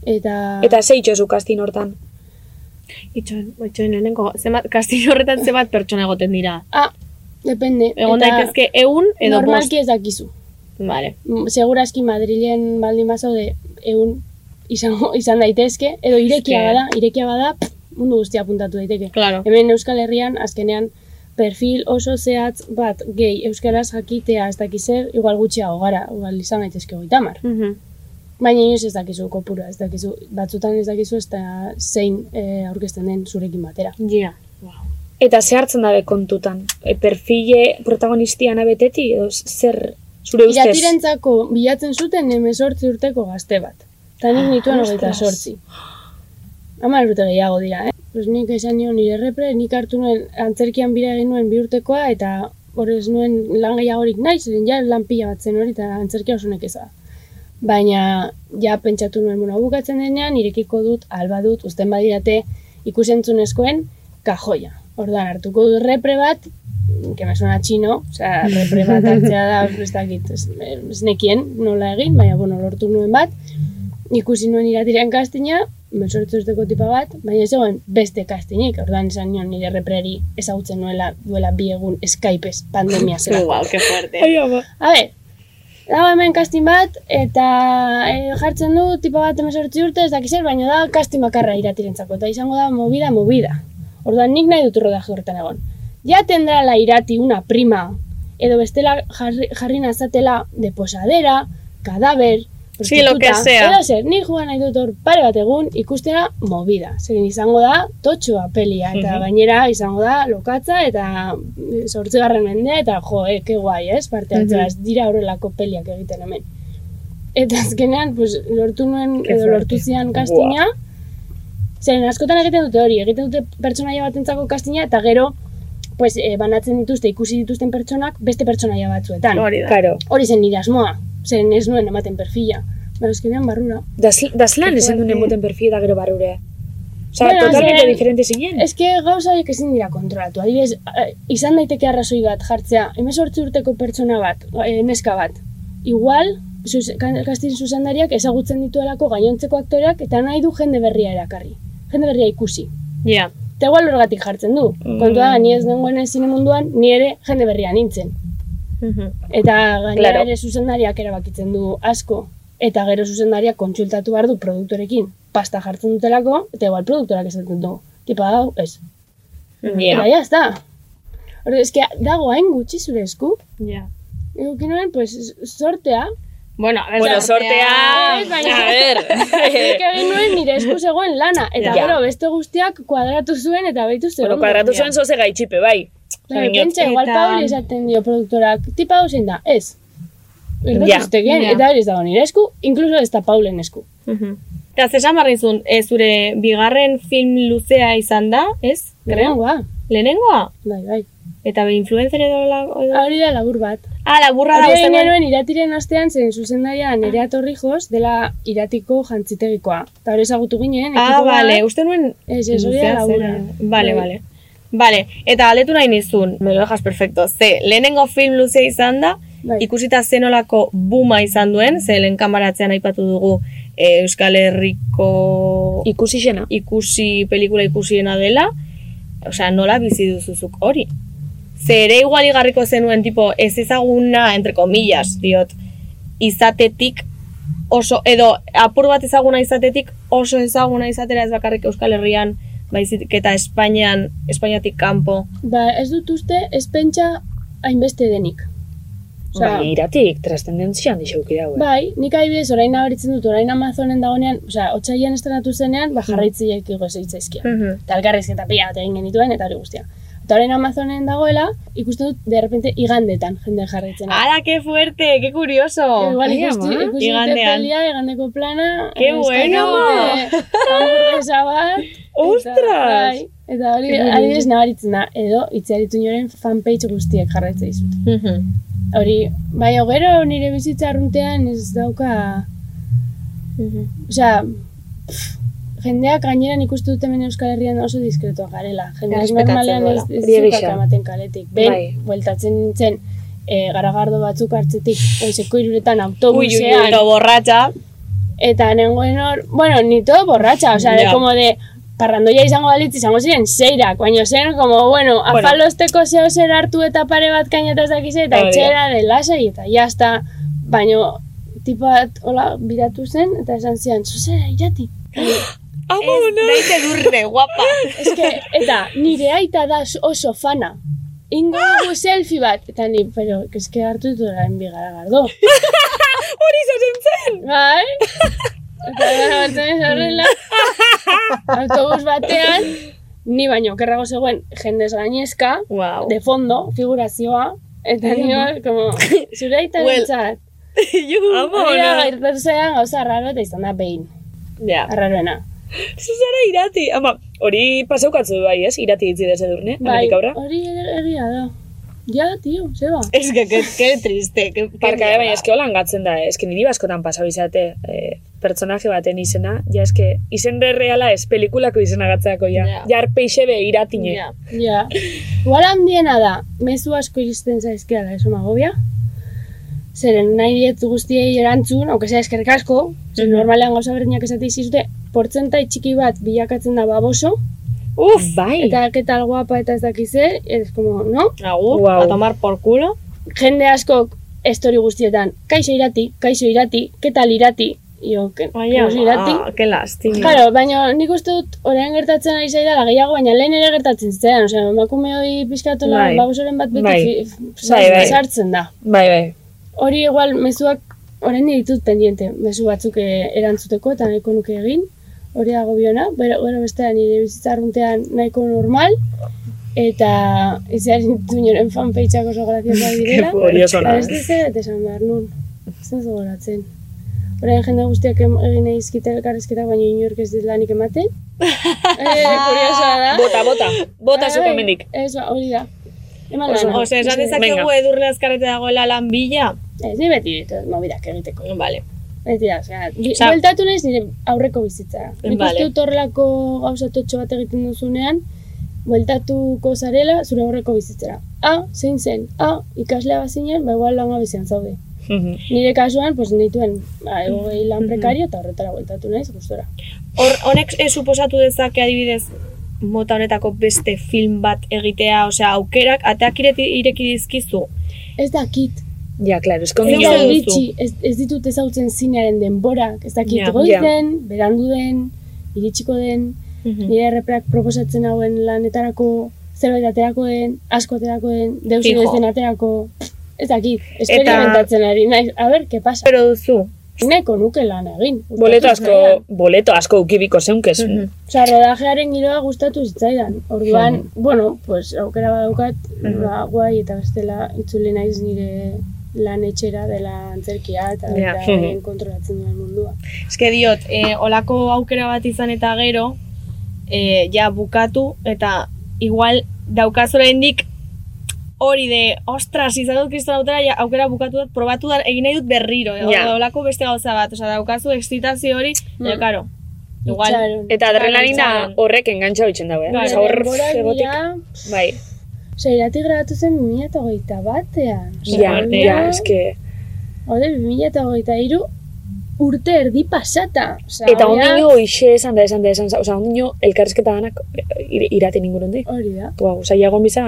Eta... Eta ze itxozu kastin hortan? Itxoin, itxoin lehenengo, zenbat, kastin horretan zenbat pertsona egoten dira. Ah, depende. Egon Eta daitezke eun edo bost. Normalki ez dakizu. Vale. Mm, Segurazki Madrilen baldin bazaude egun izango izan daitezke, edo irekia Eske. bada, irekia bada pff, mundu guztia apuntatu daiteke. Claro. Hemen Euskal Herrian azkenean perfil oso zehatz bat gehi euskaraz jakitea ez dakiz zer, igual gutxiago gara, igual izan daitezke hogeita hamar. Baina inoiz ez dakizu kopura, ez dakizu, batzutan ez dakizu ez da zein eh, aurkezten den zurekin batera. Ja. Eta ze hartzen dabe kontutan? E, perfile protagonistiana beteti, edo zer zure ustez? Iratirentzako bilatzen zuten emezortzi urteko gazte bat. Eta Ah, nik nituen hogeita ostras. sortzi. Hamar urte gehiago dira, eh? Pues nik esan nion nire repre, nik hartu nuen antzerkian bira egin nuen bi urtekoa eta horrez nuen lan gehiagorik nahi, zeren ja lan pila bat zen hori eta antzerkia osunek eza. Baina, ja pentsatu nuen, bueno, bukatzen denean, irekiko dut, alba dut, uzten badirate ikusentzunezkoen kajoia. Orduan, hartuko dut repre bat, que me suena txino, osea, repre bat hartzea da, ez dakit, ez, ez nekien nola egin, baina, bueno, lortu nuen bat, ikusi nuen iratiren kastina, mesortzu urteko tipa bat, baina ez zegoen beste kastinik, orduan esan nion nire repreri ezagutzen nuela duela bi egun Skypez, pandemia zela. Guau, qué fuerte. Ai, ama. A ber, dago hemen kastin bat, eta e, jartzen du tipa bat emesortzi urte, ez dakiz zer, baina da kastin bakarra iratirentzako, eta izango da movida, movida. Orduan nik nahi dut rodaje horretan egon. Ja tendrá la irati una prima, edo bestela jarri, jarri nazatela de posadera, kadaber, Sí, lo que prostituta, sea. Edo zer, nik joan nahi dut hor pare bat egun ikustera movida. Zeren izango da totxoa pelia, eta Mhm. gainera izango da lokatza, eta mm, sortzigarren mendea, eta jo, e, ke guai, ez, parte Mhm. Mhm. hartzea, ez dira horrelako peliak egiten hemen. Eta azkenean, pues, lortu nuen, Ke edo fuerte. lortu zian kastina, Zeren askotan egiten dute hori, egiten dute pertsonaia batentzako kastina eta gero pues, eh, banatzen dituzte, ikusi dituzten pertsonak beste pertsonaia batzuetan. Hori da. Claro. Hori zen nire asmoa, zeren ez nuen ematen perfila. Baina eskenean barrura. Da ze- da zelan esan duen emoten perfil da gero barure. Osa, Bueno, totalmente zeren- diferente zinen. Ez que gauza horiek ezin dira kontrolatu. Adibidez, eh, izan daiteke arrazoi bat jartzea, emezortzi urteko pertsona bat, eh, neska bat. Igual, zuz, kan- kastin zuzendariak ezagutzen dituelako gainontzeko aktoreak eta nahi du jende berria erakarri. Jende berria ikusi. Ja. Eta igual horregatik jartzen du. Kontua da, ni ez nengoen zine munduan, ni ere jende berria nintzen. Eta gainera Claro. ere zuzendariak erabakitzen du asko. Eta gero zuzendariak kontsultatu behar du produktorekin. Pasta jartzen dutelako, eta igual produktorak esaten du. Tipa hau, ez. Ja. Eta ya está. Hor, eske, dago hain gutxi zure esku. Ja. Eukin nuen, pues, sortea. Bueno, a ver, Bueno, sortea. Ez, baina- A ver. Nik egin nuen nire esku zegoen lana. Eta Ja. gero beste guztiak kuadratu zuen eta baitu zuen. Bueno, kuadratu zuen zoze gaitxipe, bai. Claro, pentsa, igual Pauli esaten dio produktorak, tipa hau zein da, ez. Erdoz ustegian, Ja. eta hori ez dago nire esku, inkluso ez da Paulen esku. Eta zesan barrizun, e, zure bigarren film luzea izan da, ez? Lehenengoa. Lehenengoa? Bai, bai. Eta be influencer edo la... Hori da labur bat. Ah, laburra da Hori egin izan. genuen iratiren astean zen zuzendaria nerea torrijos dela iratiko jantzitegikoa. Eta hori ezagutu ginen. Ah, ekipo bat. bale, uste nuen... Ez, ez, hori da luzea laburra. Bai. zela. Bale, bale. bai, Vale, eta galetu nahi nizun, me lo dejas perfecto. Ze, lehenengo film luzea izan da, ikusita zenolako buma izan duen, ze lehen kamaratzean aipatu dugu e, Euskal Herriko... Ikusi xena. Ikusi, pelikula ikusiena dela. Osea, nola bizi duzuzuk hori? Ze ere igual igarriko zenuen, tipo, ez ezaguna, entre comillas, diot, izatetik oso, edo apur bat ezaguna izatetik oso ezaguna izatera ez bakarrik Euskal Herrian, baizik eta Espainian, Espainiatik kanpo. Ba, ez dut uste, ez pentsa hainbeste denik. Osea, Baina iratik, trastendentzian dixauki dago. eh. Bai, nik adibidez orain nabaritzen dut, orain Amazonen dagoenean, osea, otsailean estenatu zenean, Mm. ba jarraitzileak igo zitzaizkia. Mhm. Eta elkarrizketa pila bat egin genituen eta hori guztia. Eta orain Amazonen dagoela, ikusten dut de repente igandetan jende jarraitzen. ¡Hala, qué fuerte! ¡Qué curioso! Igual ikusti, ikusi dute Igandean. pelia, igandeko plana. eh, Qué eskaini bueno! dute hamburguesa bat. ¡Ostras! Bai, eta hori, Qué adibidez bonito. nabaritzen da, edo itziaritu noren fanpage guztiek jarraitzen dizut. Hori, bai, gero nire bizitza arruntean ez dauka... Osea, pff, jendeak gaineran ikusten dut hemen Euskal Herrian oso diskretua garela. Jendeak Errespetatzen normalean ez, duela. ez Hori zukak gisa. ematen kaletik. Ben, Bai. bueltatzen nintzen, e, garagardo batzuk hartzetik, oizeko iruretan Uy, uy, uy, autobusean. lo borracha. Eta nengoen hor, bueno, ni todo borratxa, osea, de Ja. como de, parrandoia izango balitz izango ziren seirak, baina zen, como, bueno, Bueno. afalosteko zeo zer hartu eta pare bat kainataz dakize, eta Hori da. etxera de lasai, eta jazta, baina tipo bat, hola, biratu zen, eta esan zian, zuzera, irati. ¡Vámonos! ¡Deite durde, guapa! Es que, eta, nire aita da oso fana. Ingo dugu selfie bat. Eta ni, pero, que es que hartu dut orain bigara gardo. Hori zaten zen! Bai? Eta gara batzen horrela. Autobus batean, ni baino, kerrago zegoen, jendez gainezka, de fondo, figurazioa, eta ni hor, como, zure aita Well, nintzat. Bai. Hori da, ¡Vámonos! gertatu zean, gauza raro eta izan da behin. Ja. Arraroena. Zuzara irati. Ama, hori pasaukatzu bai, ez? Irati itzi desedurne, Bai, Amerika aurra. hori er- egia da. Ja, tio, zeba. Es que, que, que triste. Que, Parka, eh, baina eske holan gatzen da, eh. eske niri askotan pasau izate eh, pertsonaje baten izena, ja eske izen reala ez pelikulako izena gatzako, ja. Ja. Yeah. Jar peixebe iratine. Ja. Ja. Igual handiena da, mezu asko iristen zaizkiala esomagobia. Zeren nahi diet guztiei erantzun, auke sea eskerrik asko, zeren normalean gauza berdinak esate izizute, portzentai txiki bat bilakatzen da baboso. Uf, bai. Eta que tal guapa eta ez dakize, ez como, no? Agur, Guau. a tomar por culo. Jende askok estori guztietan, kaixo irati, kaixo irati, ketal irati, Io, ke, Baina, kaixo irati. ah, que lastima. Claro, baina nik uste dut orain gertatzen ari zaidala gehiago, baina lehen ere gertatzen zitzaidan, osea, emakume hori pizkatola Bai. babosoren bat beti Bai. fi- Bai, bai. sartzen da. Bai, bai. Hori igual mezuak orain ditut pendiente, mezu batzuk eh, erantzuteko eta nahiko nuke egin. Hori dago biona, bero, bero bestean nire bizitza arruntean nahiko normal, eta izan ditu nioren fanpageak oso graziosa direla. Hori oso ona, Eta beste eh? zer, eta esan behar nun. Ez dut gogoratzen. Orain jende guztiak em- egin nahi izkite elkarrizketa, baina inork ez dit lanik ematen. eh, kuriosoa da. Bota, bota. Bota Bai, zuko bai, hemendik. Ez, ba, hori da. Eman Oso, lana. oso, esan Ez, dezakegu venga. edurne azkarrete dagoela lan bila. Ez, ni beti ditut mobidak egiteko. Vale. Beti da, osea, bi- Osea- bueltatu naiz nire aurreko bizitza. Nik Vale. uste dut horrelako gauzatotxo bat egiten duzunean, bueltatuko zarela zure aurreko bizitzera. Ah, zein zen, ah, ikaslea bazinen, ba igual langa bizian zaude. Nire kasuan, pues nituen, ba, egogei lan Mhm. prekario eta horretara bueltatu naiz, gustora. Hor, honek eh, suposatu dezake adibidez mota honetako beste film bat egitea, osea, aukerak ateak ireti, ireki dizkizu. Ez dakit. Ja, claro, Ez eskondia da duzu. iritsi, ez, ez ditut ezautzen zinearen denborak, ez dakit Ja. goiz Ja. den, berandu den, iritsiko den, nire erreplak proposatzen hauen lanetarako, zerbait aterako den, asko aterako den, deus Fijo. ez den aterako, ez dakit, esperimentatzen ari naiz, a ber, ke pasa. Pero duzu. Nahiko nuke lan egin. Boleto asko, boleto asko ukibiko zeunkez. Osa, rodajearen giroa gustatu zitzaidan. Orduan, bueno, pues, aukera badaukat, ba, guai eta bestela itzuli naiz nire lan etxera dela antzerkia eta Ja. yeah. beraien kontrolatzen duen mundua. Eske diot, e, olako aukera bat izan eta gero, e, ja bukatu, eta igual daukazora indik hori de, ostras, izan dut kriston autera, ja, aukera bukatu dut, probatu da, egin nahi dut berriro, e, Ja. olako beste gauza bat, osea, daukazu excitazio hori, mm. karo, igual. Eta adrenalina Itxaron. horrek engantxa hoitzen daue. Bai, Bai, hor denboraldia- egotik. Bai, Osea, irati grabatu zen 2008 batean. Osea, ja, orain ja, da- eske... Orduan, 2023 urte erdi pasata. Osea, Eta hori da- ondino ixe esan da, esan da, esan da. Osa, ondino elkarrezketa danak ir, iraten inguruan di. Hori da. Tua, osa, iagoan biza...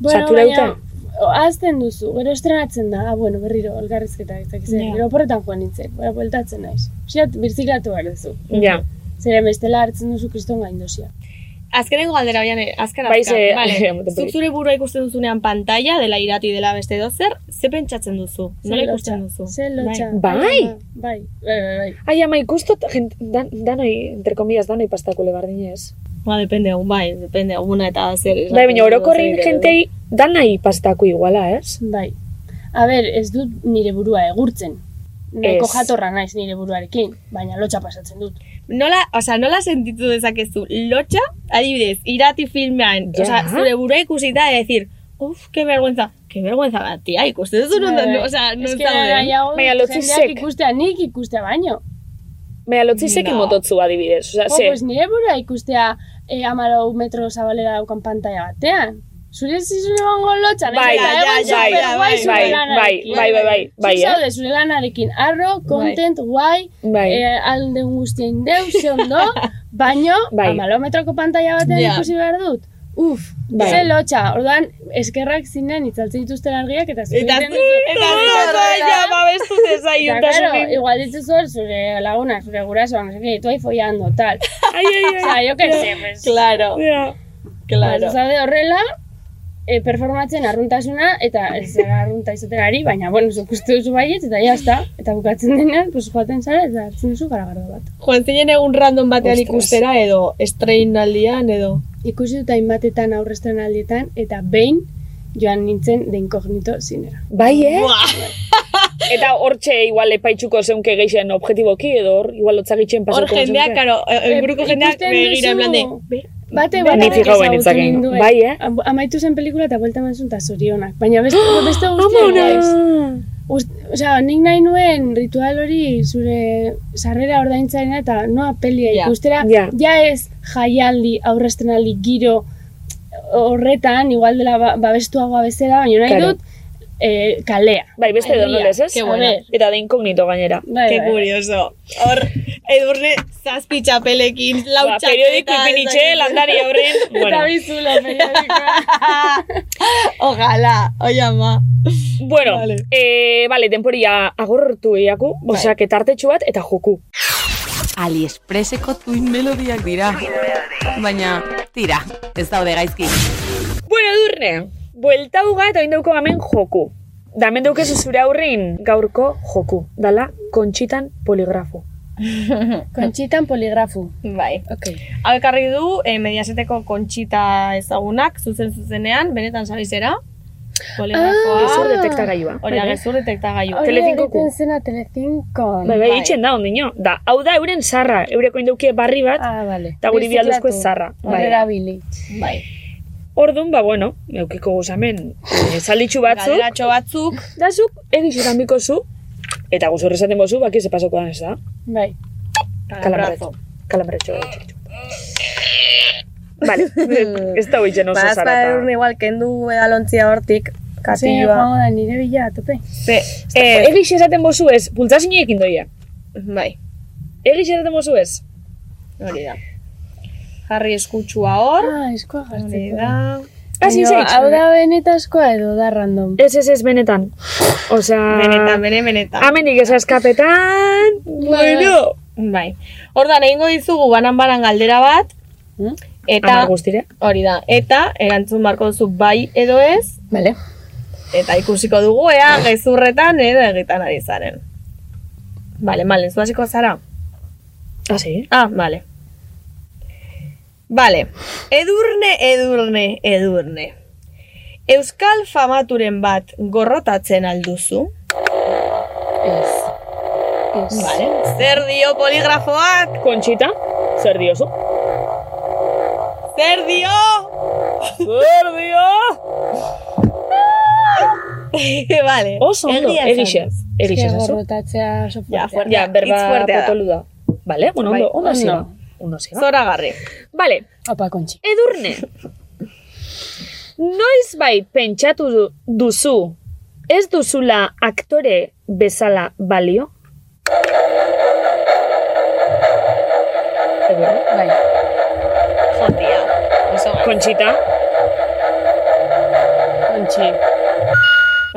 Bueno, satura baina, dute. azten duzu, gero estrenatzen da, ah, bueno, berriro, elgarrizketa, ez dakiz, Ja. gero porretan joan nintzen, bera, bueltatzen naiz. Ziat, birziklatu behar duzu. Ja. Zeren bestela hartzen duzu kriston gaindosia. Azkenengo galdera, bian, azkar, Bai, azkar. ze- Vale. Ematen Zuk dut. zure burua ikusten duzunean pantalla, dela irati, dela beste dozer, ze pentsatzen duzu? Ze Nola lotxa, ikusten duzu? Ze lotxa. Bai. Bai, bai, bai, bai. Ai, ama, ikustot, gent, dan, danoi, entre comillas, danoi pastakule bardinez. Ba, depende, bai, depende, eguna eta zer. Bai, baina orokorrin jentei danai pastako iguala, ez? Bai. A ber, ez dut nire burua egurtzen. Nahiko Ez. jatorra naiz nire buruarekin, baina lotxa pasatzen dut. Nola, osea, nola sentitu dezakezu lotxa, adibidez, irati filmean, Ja. osea, zure burua ikusita de decir, uf, que vergüenza, que vergüenza bat, tia, ikusten duzu non, Bai, no, bai. osea, non Ez que zauden. nahiago dut Baina lotzi jendeak sek. ikustea nik ikustea baina. Baina lotzizek No. imototzu adibidez. Osa, Oh, ze, pues nire burua ikustea eh, amalau metro zabalera daukan pantalla batean. Zure zizun egongo lotxan, Bai, ja, ja, bai, bai, bai, bai, bai, bai, bai, eh? zaude zure lanarekin arro, content, guai, Bai. eh, alde guztien deu, ze ondo, baino, Bai. amalau metroko pantalla batean Ja. ikusi behar dut. Uf, Bai. ze lotxa, orduan, eskerrak zinen itzaltzen dituzten argiak eta Eta zuten zu- eta Bai, zu- ja, ba, babestu dezaion, Eta eta claro, zuri- igual ditu zor, zure laguna, zure gurasoan, no sé qué, y tú ahí follando, tal. Ay, ay, ay. O sea, yo qué sé, pues. Claro. Bai. Claro. Ba, zaude horrela, eh, performatzen arruntasuna, eta ez zara arrunta izaten ari, baina, bueno, zuk uste duzu baiet, eta ya está. Eta bukatzen denean, pues joaten zara, eta hartzen duzu garagardo bat. Joan zinen egun random batean Ostras. ikustera edo, estreinaldian edo. Ikusi dut hainbatetan aurrezten aldietan, eta behin joan nintzen de inkognito zinera. Bai, eh? Eta hortxe igual epaitzuko zeunke geixen objetiboki edo hor, igual lotzagitxen Hor Pues pasako. jendeak, Bai, karo, Eh, e, buruko jendeak ikusten begira, en plan de, duzu- Bate Ni bat fijau nintzaken. Bai, eh? Amaitu zen pelikula eta buelta mazun eta zorionak. Baina beste, beste guztia Amona! guaiz. Osea, nik nahi nuen ritual hori zure sarrera ordaintzaren eta noa pelia Ja, ikustera. ja. Ja ez jaialdi, aurrestenaldi, giro horretan, igual dela ba- babestuagoa bezala, baina nahi Claro. dut eh, kalea. Bai, beste edo nolez, ez? Ke buena. A ver. Eta de inkognito gainera. Bai, Ke kurioso. Hor, edurne zazpi txapelekin, lau Ba, txapeta. periodiko ipinitxe, ez dakit. landari aurrean, bueno. bizula periodikoa. Ojalá, oi ama. Bueno, vale, eh, vale temporia agortu eiaku, osea, que tartetxu bat eta joku. Aliexpreseko tuin melodiak dira. Baina, tira, ez daude gaizki. Bueno, durne, bueltauga eta indauko gamen joku. Da, hemen daukezu zure aurrin gaurko joku. Dala, kontxitan poligrafo. Kontxitan poligrafu. Bai. Okay. Hau ekarri du, eh, mediaseteko kontxita ezagunak, zuzen zuzenean, benetan sabizera. Poligrafoa. Ah, gezur detektagailua. Hori da, Bai, bai. gezur detektagailua. Hori Telecincoku. egiten zena Telecinco. Bai, bai, itxen da, ondino. Da, hau da euren zarra, eureko indaukie barri bat, ah, vale. eta guri bialduzko zarra. Horrera bili. Bai. Orduan, ba, bueno, eukiko gozamen, esalitxu batzuk. Galderatxo batzuk. eh, Da zuk, egizutan bikozu, eta guzurri esaten bozu, baki ze pasoko dan ez da. Bai. Kalambrazo. Kalambrazo. Vale, ez da hoitzen oso Ba, zara. azpa edurne igual, kendu edalontzia hortik, Ze, katilua. joango da nire bila, a tope. Ze, Eh, egiz esaten bozu ez, bultzazinek ekin doia. bai, Egiz esaten bozu ez. hori da. Jarri eskutsua hor. Ah, eskua Hori da. Hasi Baina, zeitz. Hau da benetazkoa edo da random. Ez, ez, ez, benetan. Osea... Benetan, bene, benetan. Amenik ez askapetan... Bueno! Bai. Ordan egingo dizugu banan-banan galdera bat. Eta Hamar guztira. Hori da. Eta erantzun barko duzu bai edo ez. Vale. Eta ikusiko dugu ea gezurretan edo egiten ari zaren. Vale, vale, zu hasiko zara. Ah, sí? Ah, vale. Vale. Edurne, edurne, edurne. Euskal famaturen bat gorrotatzen alduzu? Ez. Ez. Vale. Zer dio poligrafoak? Kontxita, zer diozu? Zer dio? Zer dio? vale. Oso ondo, Egia esan. egixe. Egixe, Eske zazu. gorrotatzea oso Ja, fuertea. ja, Hitz berba fuertea da. potolu da. Vale, bueno, Bai, ondo, ondo hasi da. ondo. Ondo hasi da. Zora garri. Vale, Apa, kontxi. edurne. Noiz bai pentsatu du- duzu, ez duzula aktore bezala balio? Edurne. Bai. Jotia. Oso gaizki. Kontxita, Kontxi.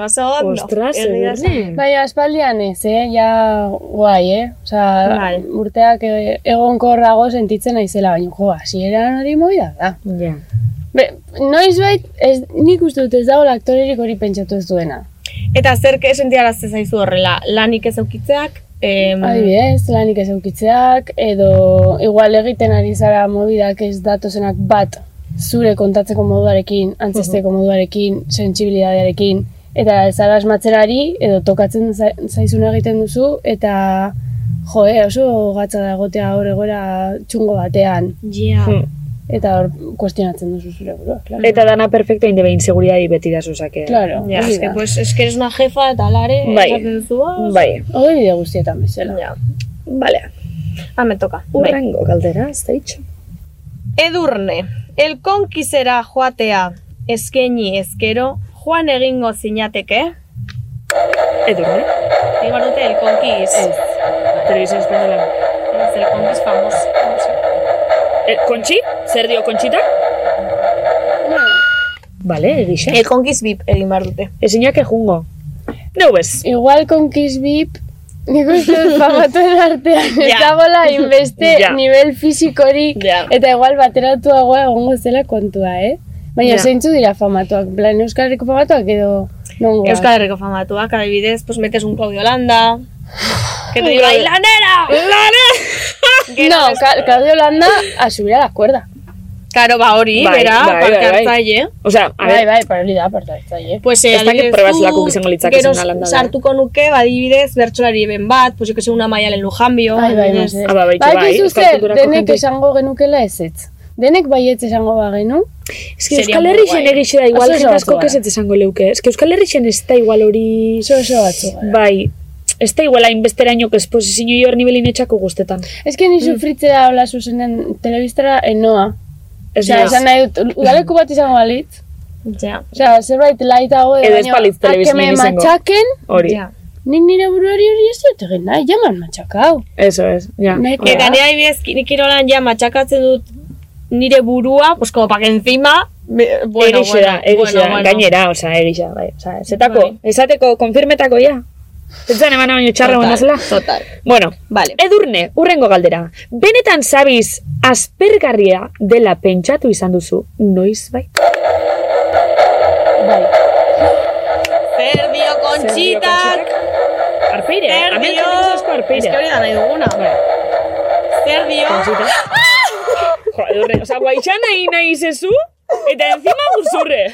Oso ondo. ostras, Egia esan. edurne. Bai, aspaldian ez, eh? Ja, guai, eh? Osa, Bai. urteak eh, egonkorrago sentitzen naizela, baina, jo, hasieran hori moida da. Ja. Be, noiz bait, ez, nik uste dut ez dago aktorerik hori pentsatu ez duena. Eta zer ke sentiarazte zaizu horrela? Lanik ez aukitzeak? Em, Adibidez, lanik ez eukitzeak, edo igual egiten ari zara mobidak ez datozenak bat zure kontatzeko moduarekin, antzesteko moduarekin, sentsibilidadearekin, eta ez zara asmatzenari, edo tokatzen za- zaizuna egiten duzu, eta jo, eh, oso gatza da egotea hor egora txungo batean, Ja. Hmm. eta hor kuestionatzen duzu zure burua, klaro. Eta dana perfecta inde behin seguridadi beti da zuzake. Claro, Ja, hori eske, da. pues, eske eres una jefa eta lare, Bai. esaten duzu, ah, Bai, Hori bide guztietan bezala. Ja. vale. Ah, me toka. Bai. Urrengo galdera, ez da itxo. Edurne, elkonkizera joatea eskaini ezkero, joan egingo zinateke? Edurne. Ego dute elkonkiz. Ez, Televisión española. elkonkiz famoso. Eh, kontxi? Zer dio kontxita? Vale, egixe. Elkonkiz bip egin behar dute. Ezinak ejungo. Neu bez. Igual konkiz bip, nik uste dut famatuen artean ez Ja. dagoela inbeste Ja. nivel fisikorik Ja. eta igual bateratuagoa egongo zela kontua, eh? Baina Ja. zeintzu dira famatuak, plan Euskal Herriko famatuak edo nongoak? Euskal Herriko famatuak, adibidez, pues metes un Claudio Landa, que te Ui, diga, bai. lanera! No, Ka- Claudio Landa a subir a la cuerda. Karo, ba hori, Bai, bera, bai, parte bai, bai. hartzaile. Osea, a Bai, ver, bai, para hori da, parte hartzaile. Pues eh, Ez dakit adibidez, probaz zu, laku izango litzakezu gero una landa, sartuko nuke, badibidez, bertsolari eben bat, pues ikose una maialen lujanbio. Bai, bai, adibidez. mesedez. Ah, ba, bai, Ba, bai, akizu euskal zer, kulturako denek jende- esango genukela ezetz. Denek baietz esango bagenu, es que sería Euskal muy Herrixen guai. egixe da igual Oso oso jende asko batzua. kesetz esango leuke. Es que Euskal Herrixen ez da igual hori... oso oso batzu. gara. Bai, ez da igual hainbesteraino esposizio hor nibelin etxako guztetan. Ez que ni Mm. sufritzea hola zuzenen telebistara enoa. Ez Osea, naiz. esan nahi dut, udaleku bat izango balitz, Ja, Osea, zerbait laitago Edo ez balitz telebistan akeme izango. matxaken, Hori. ja. nik nire buruari hori ez dut egin nahi, jaman matxakau. Eso es, ja. Nahiko Eta da. nire adibidez, ki- kirolan ja matxakatzen dut nire burua, pues como pa que encima... me- bueno, egixe da, bueno, egixe da, bueno, bueno. gainera, osea, egixe da, bai. Osea, zetako, Bai. esateko, konfirmetako, ja. Zetzan eman baino txarra Total, bonazela. Total. Bueno, Vale. Edurne, urrengo galdera. Benetan zabiz aspergarria dela pentsatu izan duzu, noiz bai? Bai. Zer dio kontxitak, Arpeire, zer dio... Ez que hori da nahi duguna. Zer dio... Jo, edurne, oza, guaitxan nahi nahi zezu, eta encima guzurre.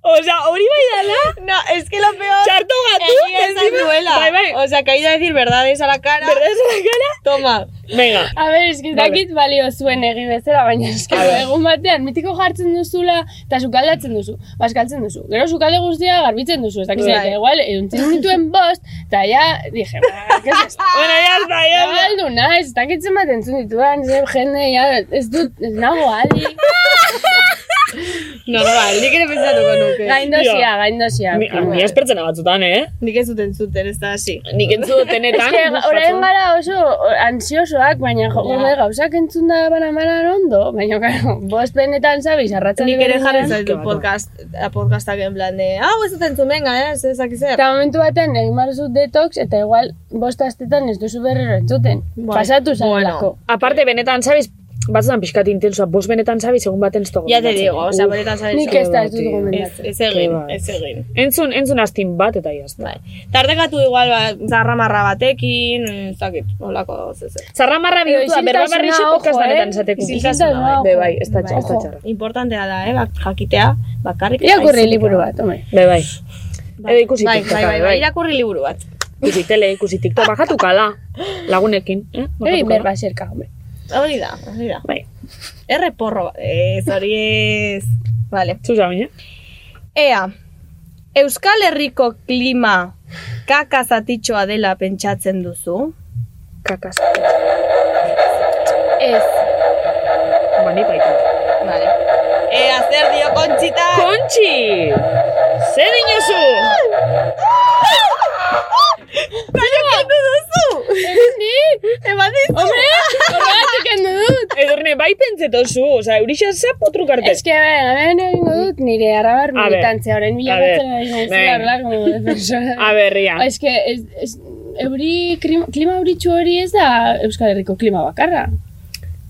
Oza, hori bai dala, No, es que lo peor... txarto gatu, Egia esan encima- duela. Bai, bai, O sea, que ha ido a decir verdades a la cara. berdez la cara. Toma. Venga, A ber, Vale. eski Mm. dakit balio zuen egi bezala, baina eski egun batean mitiko jartzen duzula eta sukaldatzen duzu, bazkaltzen duzu. Gero sukalde guztia garbitzen duzu, ez dakit Bai. zer, eta igual eduntzen nituen bost, eta ja, dije, "Ba, ¿qué es esto? bueno, ya está, ya Ja, Ah. está. galdu naiz, ez dakit zenbat entzun ditudan, zer jende, ja, ez dut, ez nago adi. Normal, nik ere pentsatuko nuke. Gaindosia, gaindosia. Mi, a, mi aspertzen batzutan, eh? Nik ez dut entzuten, ez da hasi. Nik entzu denetan. Eske, orain gara oso ansiosoak, baina jo, hombre, gauzak entzun da banan-banan ondo, baina, claro, bost benetan zabiz, arratzen Nik ere jarri Ke zaitu bat, podcast, a podcastak en plan de, ah, ez dut entzun, venga, eh, ez ezak izer. Eta momentu batean egin behar duzu detox, eta igual bost astetan ez duzu berrero entzuten. Bai. Pasatu Bueno. zarelako. Aparte, benetan, sabes, batzutan pixkat intensoa, bos benetan zabiz egun baten ez Ja te digo, osea, benetan zabiz. Nik ez da, ez dut gomendatzen. Ez egin, ez egin. Entzun, entzun astin bat eta jazta. Bai. Tartekatu igual, ba, zarra marra batekin, ez dakit, holako zezer. Zarra marra bihurtua, berba barrixo podcast danetan esateko. Isiltasuna, Be bai, ez da txarra, ez da txarra. Importantea da, eh, bak- jakitea, bakarrik. Irakurri liburu bat, hombre. Be bai. Edo ikusi Bai, TikToka, bai, bai, be bai, bai. irakurri liburu bat. Ikusi tele, ikusi TikTok, bajatu kala, lagunekin. eh? Bajatu kala. Ei, Bai, berba xerka, hombre. Hori da, hori da. Bai. Erre porro bat. Ez, hori ez. Vale. Zuza, baina? Ea, Euskal Herriko klima kakazatitxoa dela pentsatzen duzu? Kakazatitxoa. Ez. Ba, ni baita. Vale. Ea, zer dio kontxita? Kontxi! Zer dinozu? Baina kendu duzu! Ez ni! Eman dizu! Hombre! Horregatik kendu dut! Edurne, bai pentsetozu, oza, eurixa zapu trukarte. Ez que, a ver, hemen egingo dut nire arrabar A ver. militantzia, A orain bila ver. gertzen ari Venga. naizela, horrela, como defensora. A ber, ria. Ez que, Ah, ez, ez, euri, klima, klima euritxu hori ez da Euskal Herriko klima bakarra.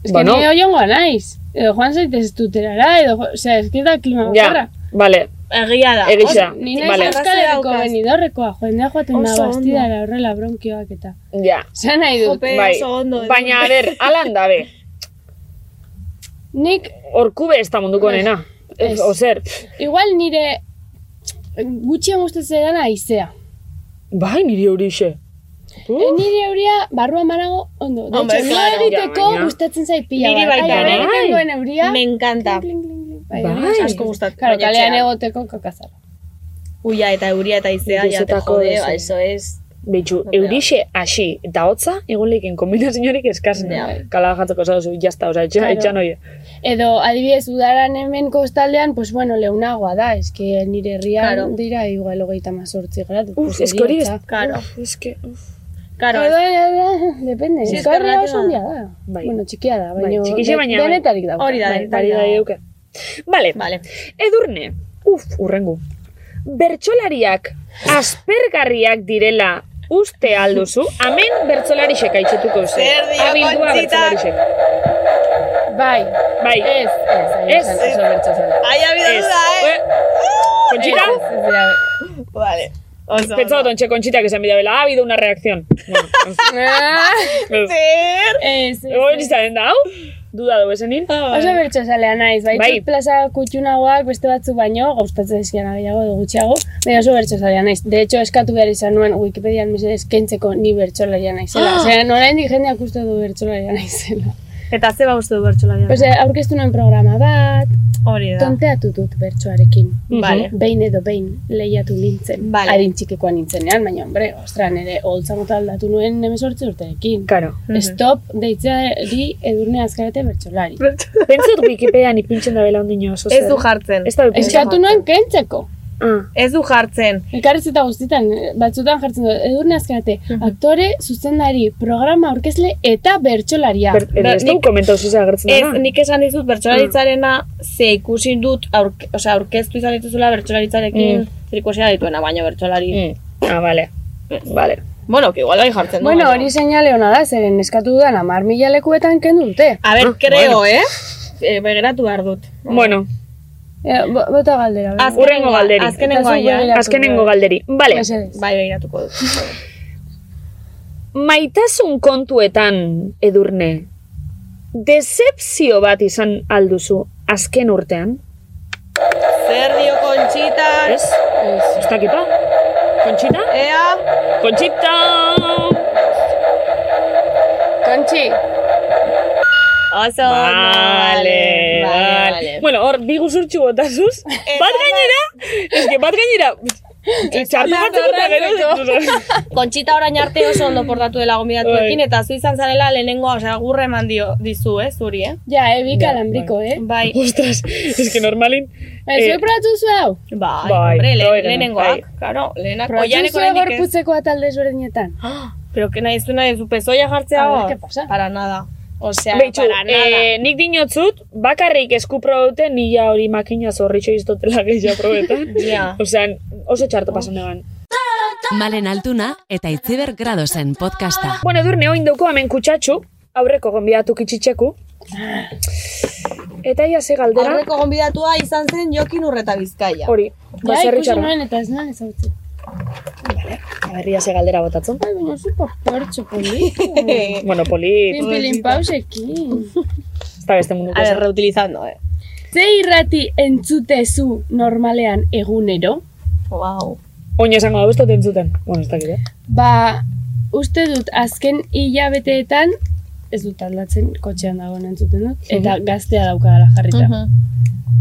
Ez que Bueno. nire oiongoa naiz. Edo joan zaitez tuterara, edo, jo- osea, ez que da klima bakarra. Ja, vale. Egia da. Egia. Ni naiz Vale. Euskal Herriko benidorrekoa, jendea joaten da Oso ondo. bastidara horrela bronkioak eta. Ja. Zer nahi dut. Bai. Baina, a ber, alan da, be. Nik... Orkube ez da munduko nena. Ez. Ozer. Igual nire gutxien gustatzen dana aizea. Bai, niri eurixe. Eh, nire euria barruan banago ondo. De Hombre, hecho, ni claro. egiteko Ja, baina. gustatzen zait pila Niri bat. baita Ai, ere. ai, Bai. nengoen euria. Me encanta. Bai, Bai. hori Asko gustatzen, Claro, baina kalean etxean. egoteko kakazara. Uia eta euria eta izea, ja te Juzetako jode, duzu. ba, eso es. Beitxu, eurixe hasi eta hotza egon leiken kombinaziorik eskasen. Ja. Kala jatzeko zazu, jazta, oza, etxan Claro. etxan oie. Edo, adibidez, udaran hemen kostaldean, pues bueno, leunagoa da, eske nire herrian Claro. dira igual hogeita mazortzi gradu. Uf, pues, eske hori ez. heriotza. Karo. Uf, eske, uf. Karo, Edo, edo, depende, Si si es eska que herria oso erratia handia da. Bai. Bueno, txikia da, Bai, baina txikixe, baina bai. denetarik dauka. Hori da, Bai, denetarik bari da dago. eduke. Vale. vale. Edurne, uf, urrengo. Bertsolariak aspergarriak direla uste alduzu, hemen bertsolarixek aitzetuko zu. Zer dio, Abildua Conchita? bertsolarixek. Bai, Bai, ez, ez, ez, Ez, ez, ez, ez, Ai, habido ez. duda, eh? Eh, Conchita, Eh. Vale. Oso, pentsatu ontxe Conchita que se bidea bela, ha habido una reacción. Bueno, ez- ez. Zer? ez, ez, Ego izan da, hau? Duda dugu esenin? Oso bertxozalea naiz, bai, Bai. bai. plaza kutxunagoak beste batzu baino, gustatzen dizkiana gehiago edo gutxiago, baina oso bertxozalea naiz. De hecho, eskatu behar izan nuen Wikipedian mesedez kentzeko ni bertxolaria naizela. Ah! Osea, oraindik jendeak uste du bertxolaria naizela. Eta ze ba uste du bertxolaria? Osea, aurkeztu nuen programa bat, Hori da. tonteatu dut bertsoarekin. Vale. Behin edo behin lehiatu nintzen. Vale. Adin txikikoa nintzenean, baina, hombre, ostra, nire holtza mota aldatu nuen nemesortzi urterekin. Karo. Stop, deitzeari edurne azkarete bertsolari. Pentsatu Wikipedian ipintzen da bela ondino oso Ez zer. du jartzen. Ez da du Eskatu nuen kentzeko. Ah. Ez du jartzen. Elkarrizketa guztietan, eh, batzutan jartzen dut, edurne azkarate, aktore, zuzendari, programa aurkezle eta bertsolaria. Ber- eh, edo Ez du Nik- komentau zuzea agertzen Ez, dena. nik esan dizut bertsolaritzarena ze ikusi dut, aurke, osea, aurkeztu izan dituzula bertsolaritzarekin zerikusia dituena, baina bertsolari. Mm. Ah, vale. Vale. Bueno, que igual bai jartzen du. bueno, baina- hori seinale hona da, zeren eskatu dudan amar mila lekuetan kendu dute. A ber, Ah, creo, bueno. eh? E, begeratu behar dut. Bueno, E, bo- bota galdera. bera. Azkenengoa, Hurrengo galderi. Azkenengoa, Eta zu ja. begira- azkenengo galderi. Vale. Mesedez. Bai, begiratuko dut. Maitasun kontuetan edurne. Dezepzio bat izan alduzu azken urtean? Zer dio kontxita? Ez? Ez ba? dakita? Kontxita? Ea? Kontxita! Kontxi, Oso, Vale, vale. Bueno, hor, bi guzurtxu botazuz. Bat gainera, ez que bat gainera, txartu batzuk eta gero. Kontxita orain arte oso ondo portatu dela gombidatuekin, Bai. eta zu izan zarela lehenengo, osea, gurre eman dio, dizu, eh, zuri, eh? ja, ebik alambriko, eh? Bai, Ostras, ez que normalin... Eh, Ez zuen probatu zu hau? bai, Bai, hombre, le, bai, lehenengoak, karo, lehenak, Probatu oianek zu hau oraindik ez. gorputzeko atal desberdinetan. Ah, Pero que nahi zuna ez pezoia jartzea A ver, hor? ¿qué pasa? Para nada. Osea, Beitxu, para nada. eh, nik dinotzut, bakarrik eskupro dute nila hori makina zorritxo iztotela gehiago probetan. Ja. Oh. Osea, oso txarto pasan eban. Malen Altuna eta Itziber Gradosen podcasta. Bueno, edurne, oin dauko hemen kutsatxu, aurreko gonbiatu kitxitxeku, Eta ia ze galdera. Aurreko gonbidatua izan zen Jokin Urreta Bizkaia. Hori. Bai, Ja, ikusi nuen eta ez nuen ezagutzen. Aberria ze galdera botatzen. Ai, baina zupa pertsu politu. Eh, bueno, poli... Pinpilin pausekin. Eta beste munduko. A ver, zer. reutilizando, eh. Ze irrati entzutezu normalean egunero? Wow. Oin esango da beste entzuten. Bueno, ez dakit, eh? Ba, uste dut azken hilabeteetan, ez dut aldatzen kotxean dagoen entzuten dut, eta gaztea daukadala jarrita.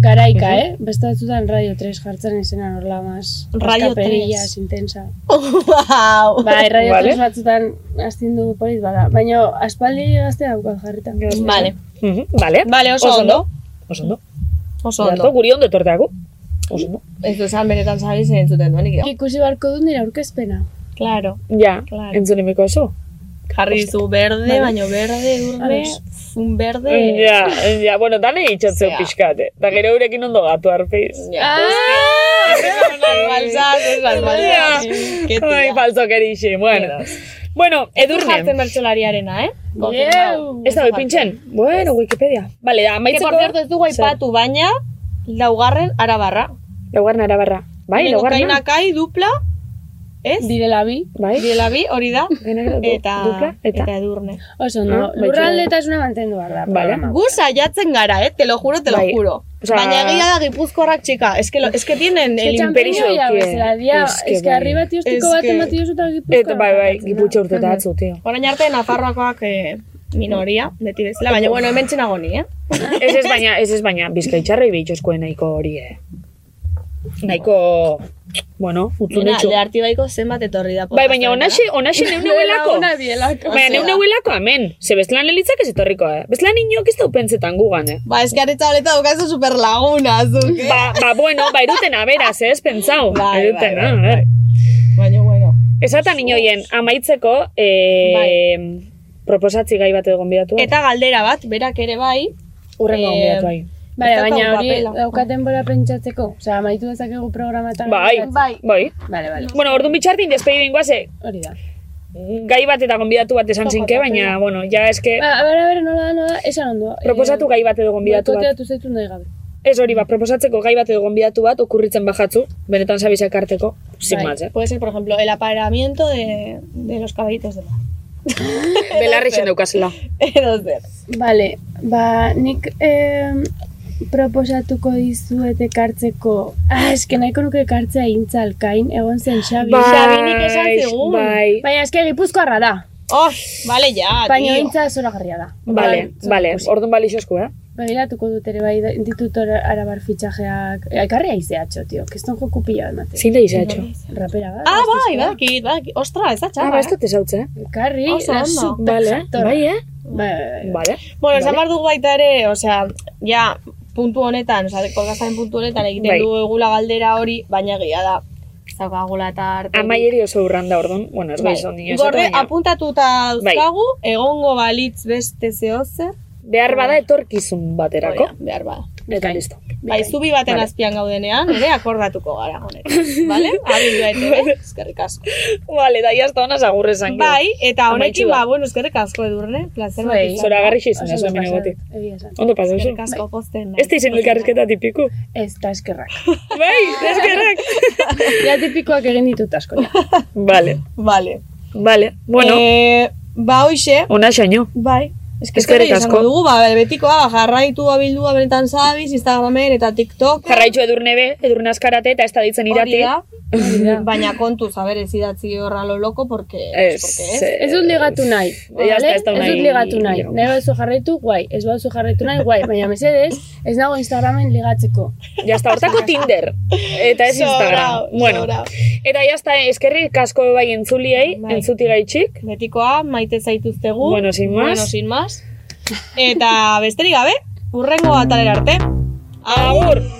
Garaika, Mhm. eh? Beste batzutan Radio 3 jartzen izena horla mas. Radio 3. Escaperillas intensa. Wow. Ba, Radio Vale. 3 batzutan azten dugu poliz bada. Baina, aspaldi gaztea daukat jarrita. Vale. Mhm, Vale. Vale, Ba, oso ondo. Oso ondo. Oso Oso ondo. guri ondo etorteako. Oso ondo. Ez du esan benetan zabiz entzuten duen ikio. Ikusi barko dut nire aurkezpena. Claro. Ja, Claro. entzunemiko oso. Jarri dizu berde, baino berde, urbe, un berde... Mm, Ja, ja, bueno, dane itxatzeu Zea. pixkate. Da gero eurekin ondo gatu arpeiz. Ja. Balsaz, ez balsaz. Ke Ai, tia. Bai, falso kerixe, bueno. Bueno, edurne. Jartzen bertsolariarena, eh? Konfirmado. Ez dago ipintzen? Bueno, Wikipedia. Vale, da, Que, por amaitzeko... cierto, ez dugu aipatu, baina laugarren arabarra. Laugarna arabarra. Bai, Lehenengo laugarna. Kainakai dupla, ez? Direla bi. Bai, Direla bi, hori da. Gainera du- Eta, dupla, eta. eta edurne. Oso, no? Ah, baitu. Lurraldetasuna mantendu behar da. Vale. programa. Gu saiatzen gara, eh? Te lo juro, te lo Bai. juro. Osea- Baina egia da gipuzkoarrak txika. Es que, lo, es que tienen El el imperio imperio. ya daukie. bezala, dia, Es que eske bai. arriba tiostiko Es bat que- emati duzu eta gipuzkoa. Eta bai, bai, giputxe urte eta atzu, tio. Orain arte, Nafarroakoak eh, minoria, beti bezala. Baina, bueno, hemen txenago ni, eh? Ez ez baina, ez ez baina, bizkaitxarrei behitxoskoen nahiko hori, eh. Nahiko, bueno, Mira, utzunetxo. de artibaiko zenbat etorri da. eh? Bai, baina onaxe, onaxe neu neuelako. Ona bielako. Baina neu neuelako, amen. Ze bezlan elitzak ez etorriko, eh. Bezlan inok ez dau pentsetan gugan, eh. Ba, es que aretza boleta dukazu superlaguna, zuk, eh? Ba, ba, bueno, ba, erutena, beraz, ez, pentsau. Bai, erutena, bai, a bai, ber. Baina, bueno. Esatan inoien, amaitzeko, eh, proposatzi gai bat egon bidatu. Bai. Eta galdera bat, berak ere bai. urrengo eh, egon bidatu bai. Bai, Ez baina daukagu hori papela. daukaten bora pentsatzeko. Osea, amaitu dezakegu programatan. Bai, Bai. bai. Bale, bale. Bueno, orduan bitxartin despedidu ingoaze, Hori da. gai bat eta gonbidatu bat esan zinke, baina, bueno, ja Bai. eske, Ba, a ber, a ber, nola da, nola da, esan ondo. Eh. proposatu gai bat edo gonbidatu bat. Boikoteatu zaitun nahi gabe. Ez hori, ba, proposatzeko gai bat edo gonbidatu bat, okurritzen bajatzu, benetan sabizak harteko, sin Bai. más, eh? Puede ser, por ejemplo, el aparamiento de, de los caballitos de mar. Belarri Bai. zen daukazela. Edo zer. Bale, ba, nik eh, proposatuko dizuet ekartzeko... Ah, eske nahiko nuke ekartzea intzalkain, egon zen Xabi. Xabinik esan zigun. Bai, Baina eske gipuzkoarra da. Oh, vale ya, Baina tío. intza zoragarria da. vale, Orduan, vale, ikusi. orduan balixosku, eh? Begiratuko Ba, dut ere bai ditut or- arabar fitxajeak. Eh, Ekarri aizeatxo, tio, keston joku pila bat mate. Zin da izatxo. Rapera bat. Ah, bai, gaztizkoa. badakit, badakit. Ostra, ez da Ah, ba, txarra, ez dut ezautze, eh? Ekarri, Oso la ondo. super Vale, jatorra. bai, eh? Bai, bai, bai. Vale. eh. Bueno, esan Vale. behar dugu baita ere, osea, ja, puntu honetan, osea, podcastaren puntu honetan egiten Bai. du egula galdera hori, baina egia da. Zaukagula eta arte. Amaieri oso urran da orduan, bueno, ez bai, zon Bai. dino Gorde, esaten, baina apuntatuta dauzkagu, egongo balitz beste zehozer. behar bada etorkizun baterako. Oia, behar bada. Eta listo. Bai, zubi baten azpian gaudenean, ere akordatuko gara honetan. Bale? Abildu ete, eskerrik asko. Vale, da jazta honaz agurre zango. Bai, eta Amaitxu honekin, da. ba, bueno, eskerrik asko edurne, placer bat Zuei. izan. Zora garri xizun, Oso ez ondo hemen pasa egotik. dut, bai. egia esan. Ondo pasau zu. Eskerrik asko pozten. naiz. Ez da izen elkarrizketa tipiku. Ez da eskerrak. Bai, eskerrak. Ja tipikoak egin ditut asko. ja. Vale, Vale. vale. Bueno, Eh, ba, hoxe, ona xaino. Bai. Ez que Eskerrik eskerrik asko. asko. Dugu, ba, betikoa, ba, jarraitu abildua benetan zabiz, Instagramen eta TikTok. Jarraitxu edurne be, edurne askarate eta ez da ditzen irate. Hori da. Baina kontuz, a ber, ez idatzi horra lo loko, porque... Ez, porque ez. eh, Ez dut ligatu nahi. Ya está, bale? ez da Ez dut nahi- ligatu nahi. Jo. Nahi baduzu jarraitu, guai. Ez baduzu jarraitu nahi, guai. Baina mesedez, ez nago Instagramen ligatzeko. Ya está, hortako Tinder. Eta ez Instagram. Sobrao, Bueno, sobrao. eta ya está, eskerrik asko bai entzuliei, Bai. entzuti gaitxik. Betikoa, maite zaituztegu. Bueno, sin más. Bueno, sin más. Eta besterik gabe, urrengo atalera arte. Agur!